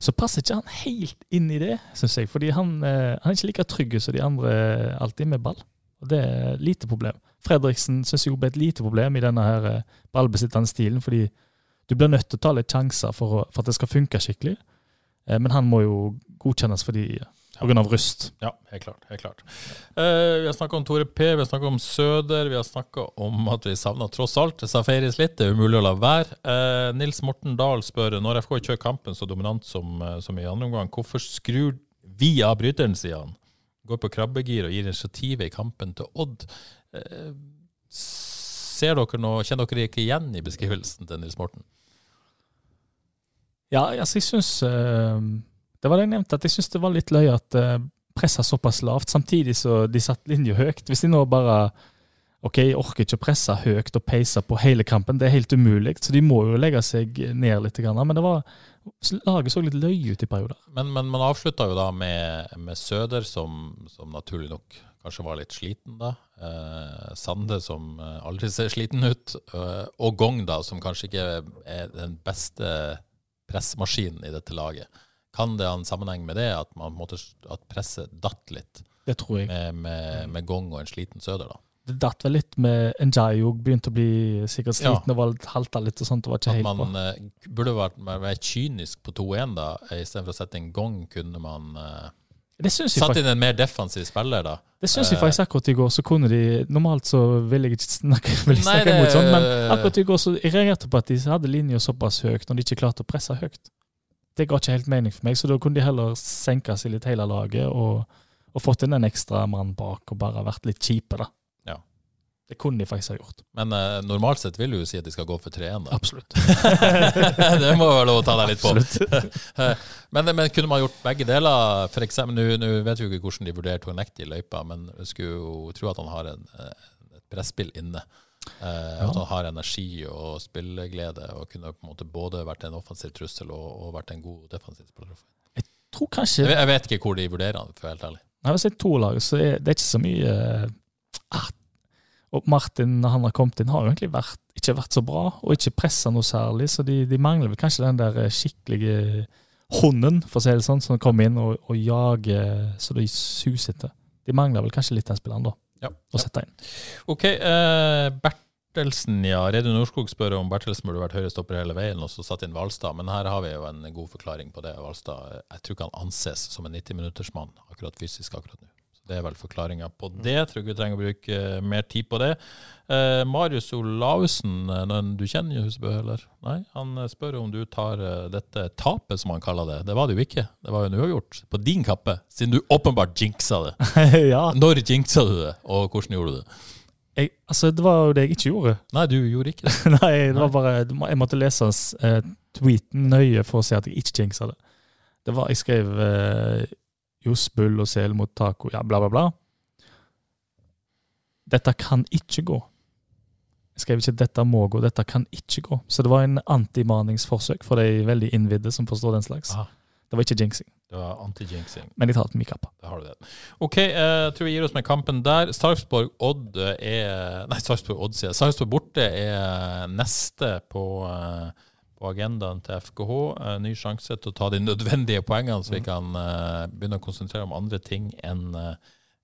Speaker 3: så passer ikke han helt inn i det, syns jeg. Fordi han, eh, han er ikke like trygg som de andre eh, alltid med ball. Og det er lite problem. Fredriksen syns jeg ble et lite problem i denne her eh, ballbesittende stilen, fordi du blir nødt til å ta litt sjanser for, å, for at det skal funke skikkelig. Eh, Men han må jo godkjennes fordi på grunn av rust.
Speaker 1: Ja, helt klart. helt klart. Eh, vi har snakka om Tore P, vi har snakka om Søder, vi har snakka om at vi savna tross alt Safaris litt. Det er umulig å la være. Eh, Nils Morten Dahl spør når FK kjører kampen så dominant som, eh, som i andre omgang, hvorfor skrur vi av bryteren, sier han. Går på krabbegir og gir initiativet i kampen til Odd. Eh, ser dere noe, Kjenner dere ikke igjen i beskrivelsen til Nils Morten?
Speaker 3: Ja, altså jeg syns Det var det jeg nevnte, at jeg syns det var litt løye at eh, pressa såpass lavt, samtidig så de satt linja høyt. Hvis de nå bare OK, jeg orker ikke å presse høyt og peise på hele kampen, det er helt umulig, så de må jo legge seg ned litt. Grann, men det var, laget så litt løye ut i perioder.
Speaker 1: Men, men man avslutta jo da med, med Søder, som, som naturlig nok kanskje var litt sliten da. Eh, Sande, som eh, aldri ser sliten ut. Eh, og Gong, da, som kanskje ikke er den beste pressmaskinen i dette laget. Kan det ha en sammenheng med det, at, man, på en måte, at presset datt litt
Speaker 3: Det tror jeg.
Speaker 1: med, med, med Gong og en sliten Søder, da?
Speaker 3: Det datt vel litt med Njay òg, begynte å bli sikkert
Speaker 1: Ja.
Speaker 3: sliten og var litt halta litt og sånt. Det var ikke
Speaker 1: At
Speaker 3: helt bra.
Speaker 1: man eh, burde vært mer, mer kynisk på 2-1, da. Istedenfor å sette inn Gong, kunne man eh,
Speaker 3: Det syns jeg,
Speaker 1: satt Eh.
Speaker 3: faktisk,
Speaker 1: inn en mer defensiv spiller, da.
Speaker 3: det syns jeg faktisk akkurat i går. så kunne de, Normalt så vil jeg ikke snakke, vil
Speaker 1: Nei,
Speaker 3: jeg snakke
Speaker 1: det-
Speaker 3: imot sånn, men akkurat i går så jeg reagerte på at de hadde linja såpass høyt når de ikke klarte å presse høyt. Det ga ikke helt mening for meg, så da kunne de heller senke seg litt hele laget og, og fått inn en ekstra mann bak og bare vært litt kjipe, da.
Speaker 1: Ja.
Speaker 3: Det kunne de faktisk ha gjort.
Speaker 1: Men eh, normalt sett vil du jo si at de skal gå for 3-1, da.
Speaker 3: Absolutt.
Speaker 1: det må være lov å ta deg litt på.
Speaker 3: Absolutt.
Speaker 1: Men, men kunne man gjort begge deler? For eksempel, nå- Nå vet vi jo ikke hvordan de vurderte Honekti i løypa, men jeg skulle jo tro at han har en, eh, et presspill inne Eh, At han har energi og spilleglede og kunne på en måte både vært en offensiv trussel og, og vært en god defensiv spiller.
Speaker 3: Tror
Speaker 1: Jeg,
Speaker 3: kanskje
Speaker 1: ve- jeg vet ikke hvor de vurderer han, for å være helt ærlig.
Speaker 3: Nei, Hvis det er to lag, så er det er ikke så mye eh, ah. Og Martin, når han har kommet inn, har jo egentlig vært, ikke vært så bra, og ikke pressa noe særlig, så de, de mangler vel kanskje den der eh, skikkelige hunden, for å si det sånn, som kommer inn og, og jager eh, så de suser etter. De mangler vel kanskje litt den spilleren, da, å sette inn.
Speaker 1: Ok, eh, Bertelsen, ja. Reidun Norskog spør om Bertelsen burde vært høyrestopper hele veien, og så satt inn Valstad. Men her har vi jo en god forklaring på det. Valstad eh, jeg tror ikke han anses som en 90-minuttersmann akkurat fysisk akkurat nå. Så Det er vel forklaringa på det. Jeg tror ikke vi trenger å bruke eh, mer tid på det. Eh, Marius Olaussen, eh, den du kjenner jo Husebø, eller? Nei? Han eh, spør om du tar eh, dette tapet, som han kaller det. Det var det jo ikke. Det var jo en uavgjort på din kappe, siden du åpenbart jinxa det.
Speaker 3: ja,
Speaker 1: Når jinxa du det, og hvordan gjorde du det?
Speaker 3: jeg, altså, det var jo det jeg ikke gjorde.
Speaker 1: Nei, du gjorde ikke det.
Speaker 3: Nei, det var bare, jeg måtte lese hans, eh, tweeten nøye for å se at jeg ikke jinxa det. Det var, Jeg skrev eh, Johs Bull og Sel mot taco, ja, bla, bla, bla. Dette kan ikke gå. Jeg skrev ikke 'dette må gå', 'dette kan ikke gå'. Så det var en antimaningsforsøk for de veldig innvidde som forstår den slags.
Speaker 1: Aha.
Speaker 3: Det var ikke jinxing,
Speaker 1: Det var anti-jinxing.
Speaker 3: men jeg tar den i kappa.
Speaker 1: Da har du det. OK, eh, jeg tror vi gir oss med kampen der. Sarpsborg-Odd er Nei, Sarpsborg-Odd sier jeg. Sarpsborg borte er eh, neste på, eh, på agendaen til FKH. Eh, Ny sjanse til å ta de nødvendige poengene, så vi kan eh, begynne å konsentrere om andre ting enn eh,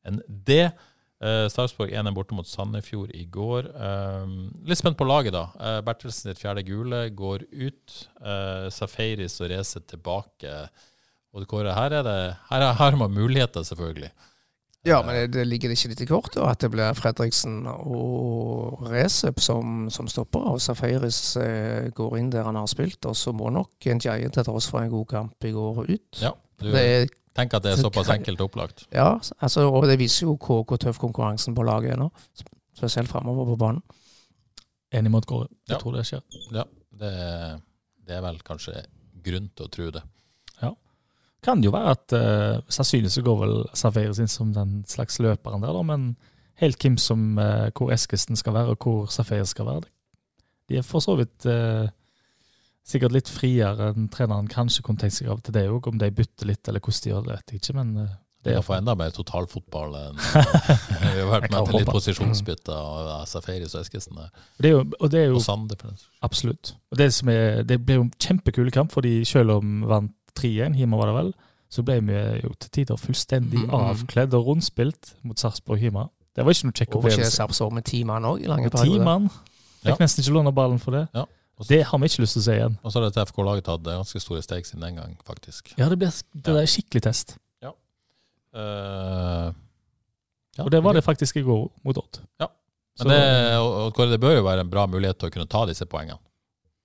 Speaker 1: enn det. Eh, Sarpsborg 1 er borte mot Sandefjord i går. Eh, litt spent på laget, da. Eh, Bertelsen sitt fjerde gule går ut. Eh, Safaris og Reze tilbake. Og Kåre, her er det Her er- her har man muligheter, selvfølgelig.
Speaker 2: Ja, men det, det ligger det ikke litt i kortet at det blir Fredriksen og Recep som, som stopper. Og Safaris eh, går inn der han har spilt, og så må nok Njaye til tross for en god kamp i går ut.
Speaker 1: Ja, du
Speaker 2: Det er,
Speaker 1: tenker at det er såpass enkelt opplagt.
Speaker 2: ja altså, og det viser jo hvor, hvor tøff konkurransen på laget er nå. Spesielt framover på banen.
Speaker 3: Enig mot Kåre. Jeg
Speaker 1: Ja.
Speaker 3: tror det skjer.
Speaker 1: Ja, det, er- det er vel kanskje grunn til å tro det.
Speaker 3: Kan det jo være at eh, sannsynligvis så går vel Safaris inn som den slags løperen der, da, men helt hvem som eh, hvor Eskesen skal være, og hvor Safaris skal være. De er for så vidt eh, sikkert litt friere enn treneren kanskje kunne tenkt seg av til det òg, om de bytter litt eller hvordan de gjør det, vet jeg ikke, men eh,
Speaker 1: Det er å få enda mer totalfotball enn Vi har vært med
Speaker 3: Jeg kan
Speaker 1: på litt
Speaker 3: håpe.
Speaker 1: posisjonsbytte av Safaris og Eskesen der.
Speaker 3: det er jo, og det er jo
Speaker 1: Og eh, Sande, for den saks skyld.
Speaker 3: Absolutt. Og det, som er, det ble jo en kjempekul kamp, fordi selv om vant 3-1, Hima var det vel, så ble vi jo til tider fullstendig
Speaker 2: Mhm.
Speaker 3: avkledd og rundspilt mot Sarpsborg Hima. Det var ikke noe kjekk
Speaker 2: Og ikke
Speaker 3: opplevelse.
Speaker 2: Sarpsborg med ti mann òg i lange
Speaker 3: Med Ti
Speaker 2: perioder.
Speaker 3: mann.
Speaker 1: Ja.
Speaker 3: Fikk nesten ikke låne ballen for det.
Speaker 1: Ja.
Speaker 3: Det har vi ikke lyst til å se igjen.
Speaker 1: Og så har dette FK-laget tatt eh, ganske store steg siden den gang, faktisk.
Speaker 3: Ja, det blir det er skikkelig test.
Speaker 1: Eh, ja,
Speaker 3: Og det var det faktisk i går mot Odd.
Speaker 1: Ja.
Speaker 3: Så,
Speaker 1: Men det, og, og Kåre, det bør jo være en bra mulighet til å kunne ta disse poengene.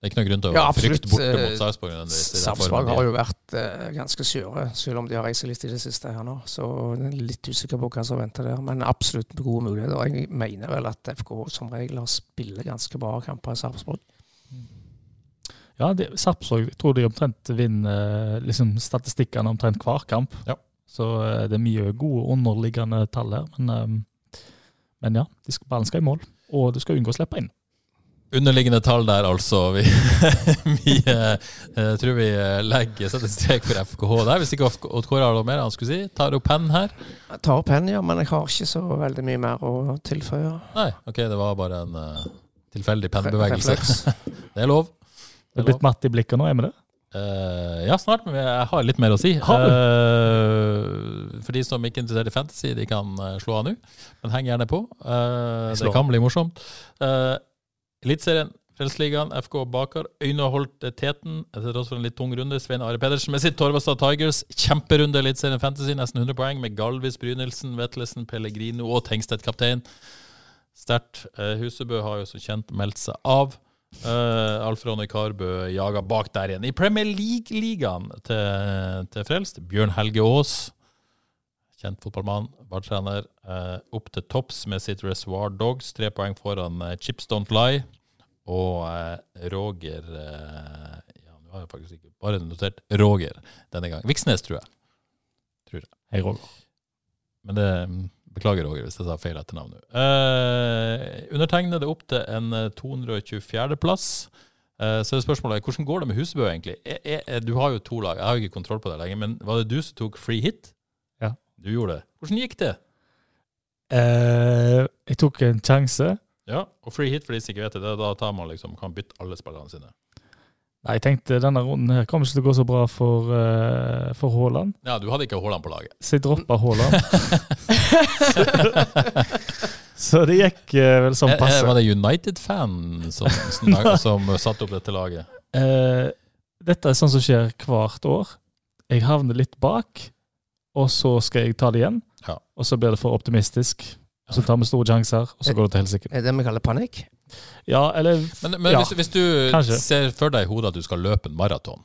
Speaker 1: Det er ikke noen grunn til å
Speaker 2: Ja,
Speaker 1: frykte
Speaker 2: absolutt.
Speaker 1: borte
Speaker 2: Eh,
Speaker 1: mot Sarpsborg. nødvendigvis, i den formen
Speaker 2: Sarpsborg
Speaker 1: de er.
Speaker 2: har jo vært eh, ganske skjøre, selv om de har reist seg litt i det siste her nå. Så jeg er litt usikker på hva som venter der, men absolutt gode muligheter. Jeg mener vel at FK som regel har spiller ganske bra kamper i Sarpsborg.
Speaker 3: ja, det- Sarpsborg jeg tror de omtrent vinner eh, liksom, statistikkene omtrent hver kamp.
Speaker 1: Ja.
Speaker 3: Så eh, det er mye gode underliggende tall her. Men, eh, men ja, de skal, ballen skal i mål, og du skal unngå å slippe inn.
Speaker 1: Underliggende tall der, altså. Vi, vi eh, eh, tror vi eh, legger setter strek for FKH der. Hvis ikke Odd Odd Kåre har noe mer han skulle si, tar opp pennen her.
Speaker 2: Jeg tar opp hen, ja, men jeg har ikke så veldig mye mer å tilføye.
Speaker 1: Nei, ok, det var bare en eh, tilfeldig
Speaker 2: Re-
Speaker 1: pennbevegelse.
Speaker 2: refleks.
Speaker 1: Det er lov.
Speaker 3: Det er blitt matt i blikket nå, er vi det?
Speaker 1: Eh, ja, snart, men jeg har litt mer å si.
Speaker 3: Har
Speaker 1: Eh, for de som ikke er interessert i fantasy, de kan eh, slå av nå. Men heng gjerne på. Eh,
Speaker 3: Jeg slår.
Speaker 1: det kan bli morsomt. Uh, Eliteserien, Frelsesligaen, FK Bakar. Øyne holdt teten til tross for en litt tung runde. Svein Are Pedersen med sitt Torvastad Tigers. Kjemperunde i Eliteserien Fantasy, nesten 100 poeng med Galvis, Brynildsen, Vetlesen, Pellegrino og Tengstedt kaptein. Sterkt. Eh, Husebø har jo som kjent meldt seg av. Uh, Alf Ronny Karbø jaga bak der igjen. I Premier League-ligaen til, til Frelst, Bjørn Helge Aas, kjent fotballmann, var trener, eh, opp til topps med sitt Reservoir Dogs, tre poeng foran eh, Chips Don't Lie, og eh, Roger eh, Ja, nå har jeg faktisk ikke bare notert Roger denne gang. Viksnes, tror jeg.
Speaker 3: Hei, Roger.
Speaker 1: Men det mm, Beklager, Roger, hvis jeg sa feil etternavn nå. Eh, undertegnede opp til en eh, 224.-plass. Eh, så er spørsmålet hvordan går det med Husebø, egentlig? Er, er, er, du har jo to lag, jeg har jo ikke kontroll på det lenger, men var det du som tok free hit?
Speaker 3: Ja.
Speaker 1: Du gjorde det. Hvordan gikk det?
Speaker 3: Eh, jeg tok en sjanse.
Speaker 1: Ja, og free hit for de som ikke vet det, det er da tar man liksom, kan bytte alle spillerne sine.
Speaker 3: Nei, jeg tenkte denne runden her kommer ikke til å gå så bra for, eh, for Haaland,
Speaker 1: Ja, du hadde ikke Haaland på laget.
Speaker 3: så jeg droppa Haaland. så det gikk eh, vel sånn
Speaker 1: Eh, eh,
Speaker 3: passe.
Speaker 1: Var det United-fan som, som, som satte opp dette laget?
Speaker 3: Eh, dette er sånn som skjer hvert år. Jeg havner litt bak, og så skal jeg ta det igjen.
Speaker 1: Ja.
Speaker 3: Og så blir det for optimistisk. Og så tar vi store sjanser, og
Speaker 1: Eh.
Speaker 3: så går det til helsike.
Speaker 2: Er det det vi kaller panikk?
Speaker 3: Ja, eller
Speaker 1: Men, men
Speaker 3: Ja,
Speaker 1: hvis, hvis du
Speaker 3: kanskje.
Speaker 1: ser for deg i hodet at du skal løpe en maraton,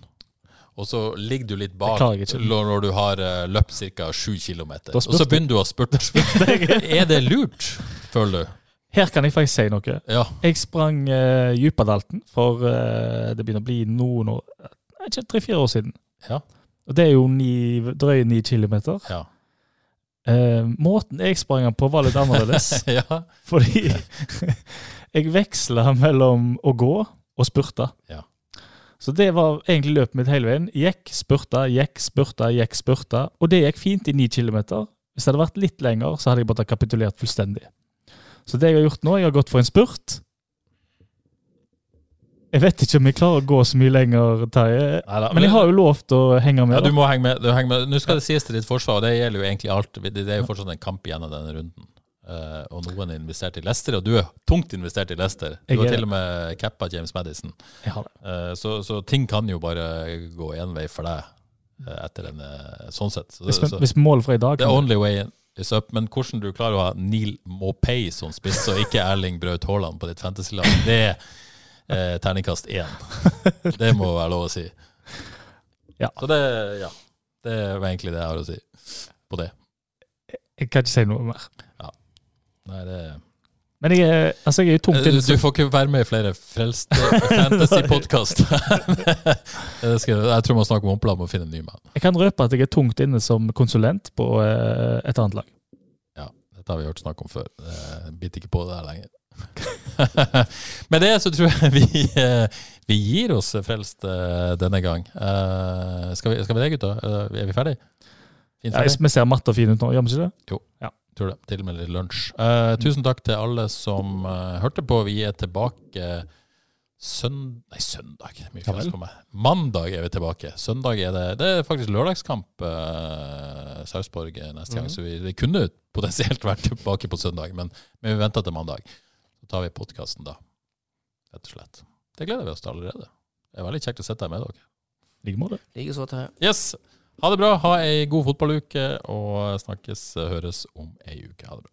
Speaker 1: og så ligger du litt bak
Speaker 3: klarer jeg ikke.
Speaker 1: når når du har eh, løpt ca. 7 km,
Speaker 3: Da
Speaker 1: og så
Speaker 3: spurte-
Speaker 1: begynner du å spurte. er det lurt, føler du?
Speaker 3: Her kan jeg faktisk si noe.
Speaker 1: Ja.
Speaker 3: Jeg sprang uh, Djupadalten for eh, det begynner å bli noen år Nei, ikke tre-fire år siden.
Speaker 1: Ja.
Speaker 3: Og det er jo ni, drøye ni kilometer.
Speaker 1: Ja.
Speaker 3: Eh, måten jeg sprang den på, var litt annerledes.
Speaker 1: ja.
Speaker 3: Fordi jeg veksla mellom å gå og spurte.
Speaker 1: Ja.
Speaker 3: Så det var egentlig løpet mitt hele veien. Gikk, spurta, gikk, spurta, gikk, spurta. Og det gikk fint i ni kilometer. Hvis det hadde vært litt lenger, så hadde jeg bare kapitulert fullstendig. Så det jeg har gjort nå, jeg har gått for en spurt. Jeg vet ikke om jeg klarer å gå så mye lenger, Terje.
Speaker 1: Neida,
Speaker 3: Men jeg har jo lovt å henge med.
Speaker 1: ja, du
Speaker 3: da.
Speaker 1: må henge med. Du henger med. Nå skal det sies til ditt forsvar, og det gjelder jo egentlig alt. Det det er jo fortsatt en kamp igjen av denne runden. Eh, og noen er investert i Leicester, og du er tungt investert i Leicester. Du
Speaker 3: Jeg
Speaker 1: har
Speaker 3: er-
Speaker 1: til og med cappa James Madison.
Speaker 3: Jeg har det.
Speaker 1: Eh, Så, så ting kan jo bare gå én vei for deg eh, etter denne, sånn sett. Så,
Speaker 3: Hvis,
Speaker 1: så,
Speaker 3: hvis målet for i dag
Speaker 1: the only way is up. Men hvordan du klarer å ha Neil Maupay som spiss, og ikke Erling Braut Haaland på ditt fantasylag, det er eh, terningkast én. Det må være lov å si.
Speaker 3: Ja.
Speaker 1: Så det, ja, det var egentlig det jeg har å si på det.
Speaker 3: Jeg kan ikke si noe mer.
Speaker 1: Nei, det
Speaker 3: Men jeg er, altså, jeg er jo tungt
Speaker 1: Eh, Du
Speaker 3: investert.
Speaker 1: får ikke være med i flere frelste fantasy-podkast. Det skal- jeg tror man snakker om Oppland og finne en ny mann.
Speaker 3: Jeg kan røpe at jeg er tungt inne som konsulent på eh, et annet lag.
Speaker 1: Ja, dette har vi hørt snakk om før. Jeg biter ikke på det her lenger. Med det så tror jeg vi, eh, vi gir oss frelst eh, denne gang. Eh, Skal vi, skal vi det, gutta? Eh, Er vi ferdig? Fint
Speaker 3: Ja,
Speaker 1: ferdig?
Speaker 3: vi ser matta fin ut nå, gjør vi ikke det?
Speaker 1: Tror det. Til og med litt lunsj. Eh, tusen takk til alle som eh, hørte på. Vi er tilbake søndag Nei, søndag. det er Mye
Speaker 3: Ja
Speaker 1: fjas
Speaker 3: vel.
Speaker 1: på meg. Mandag er vi tilbake. Søndag er det Det er faktisk lørdagskamp eh, Sarpsborg eh, neste
Speaker 3: Mhm.
Speaker 1: gang, så vi, vi kunne potensielt vært tilbake på søndag, men, men vi venter til mandag. Så tar vi podkasten da, rett og slett. Det gleder vi oss til allerede. Det er veldig kjekt å sitte her med dere.
Speaker 3: I like måte.
Speaker 2: Likeså, Terje.
Speaker 1: Yes! Ha det bra, ha ei god fotballuke, og snakkes, høres om ei uke. Ha det bra.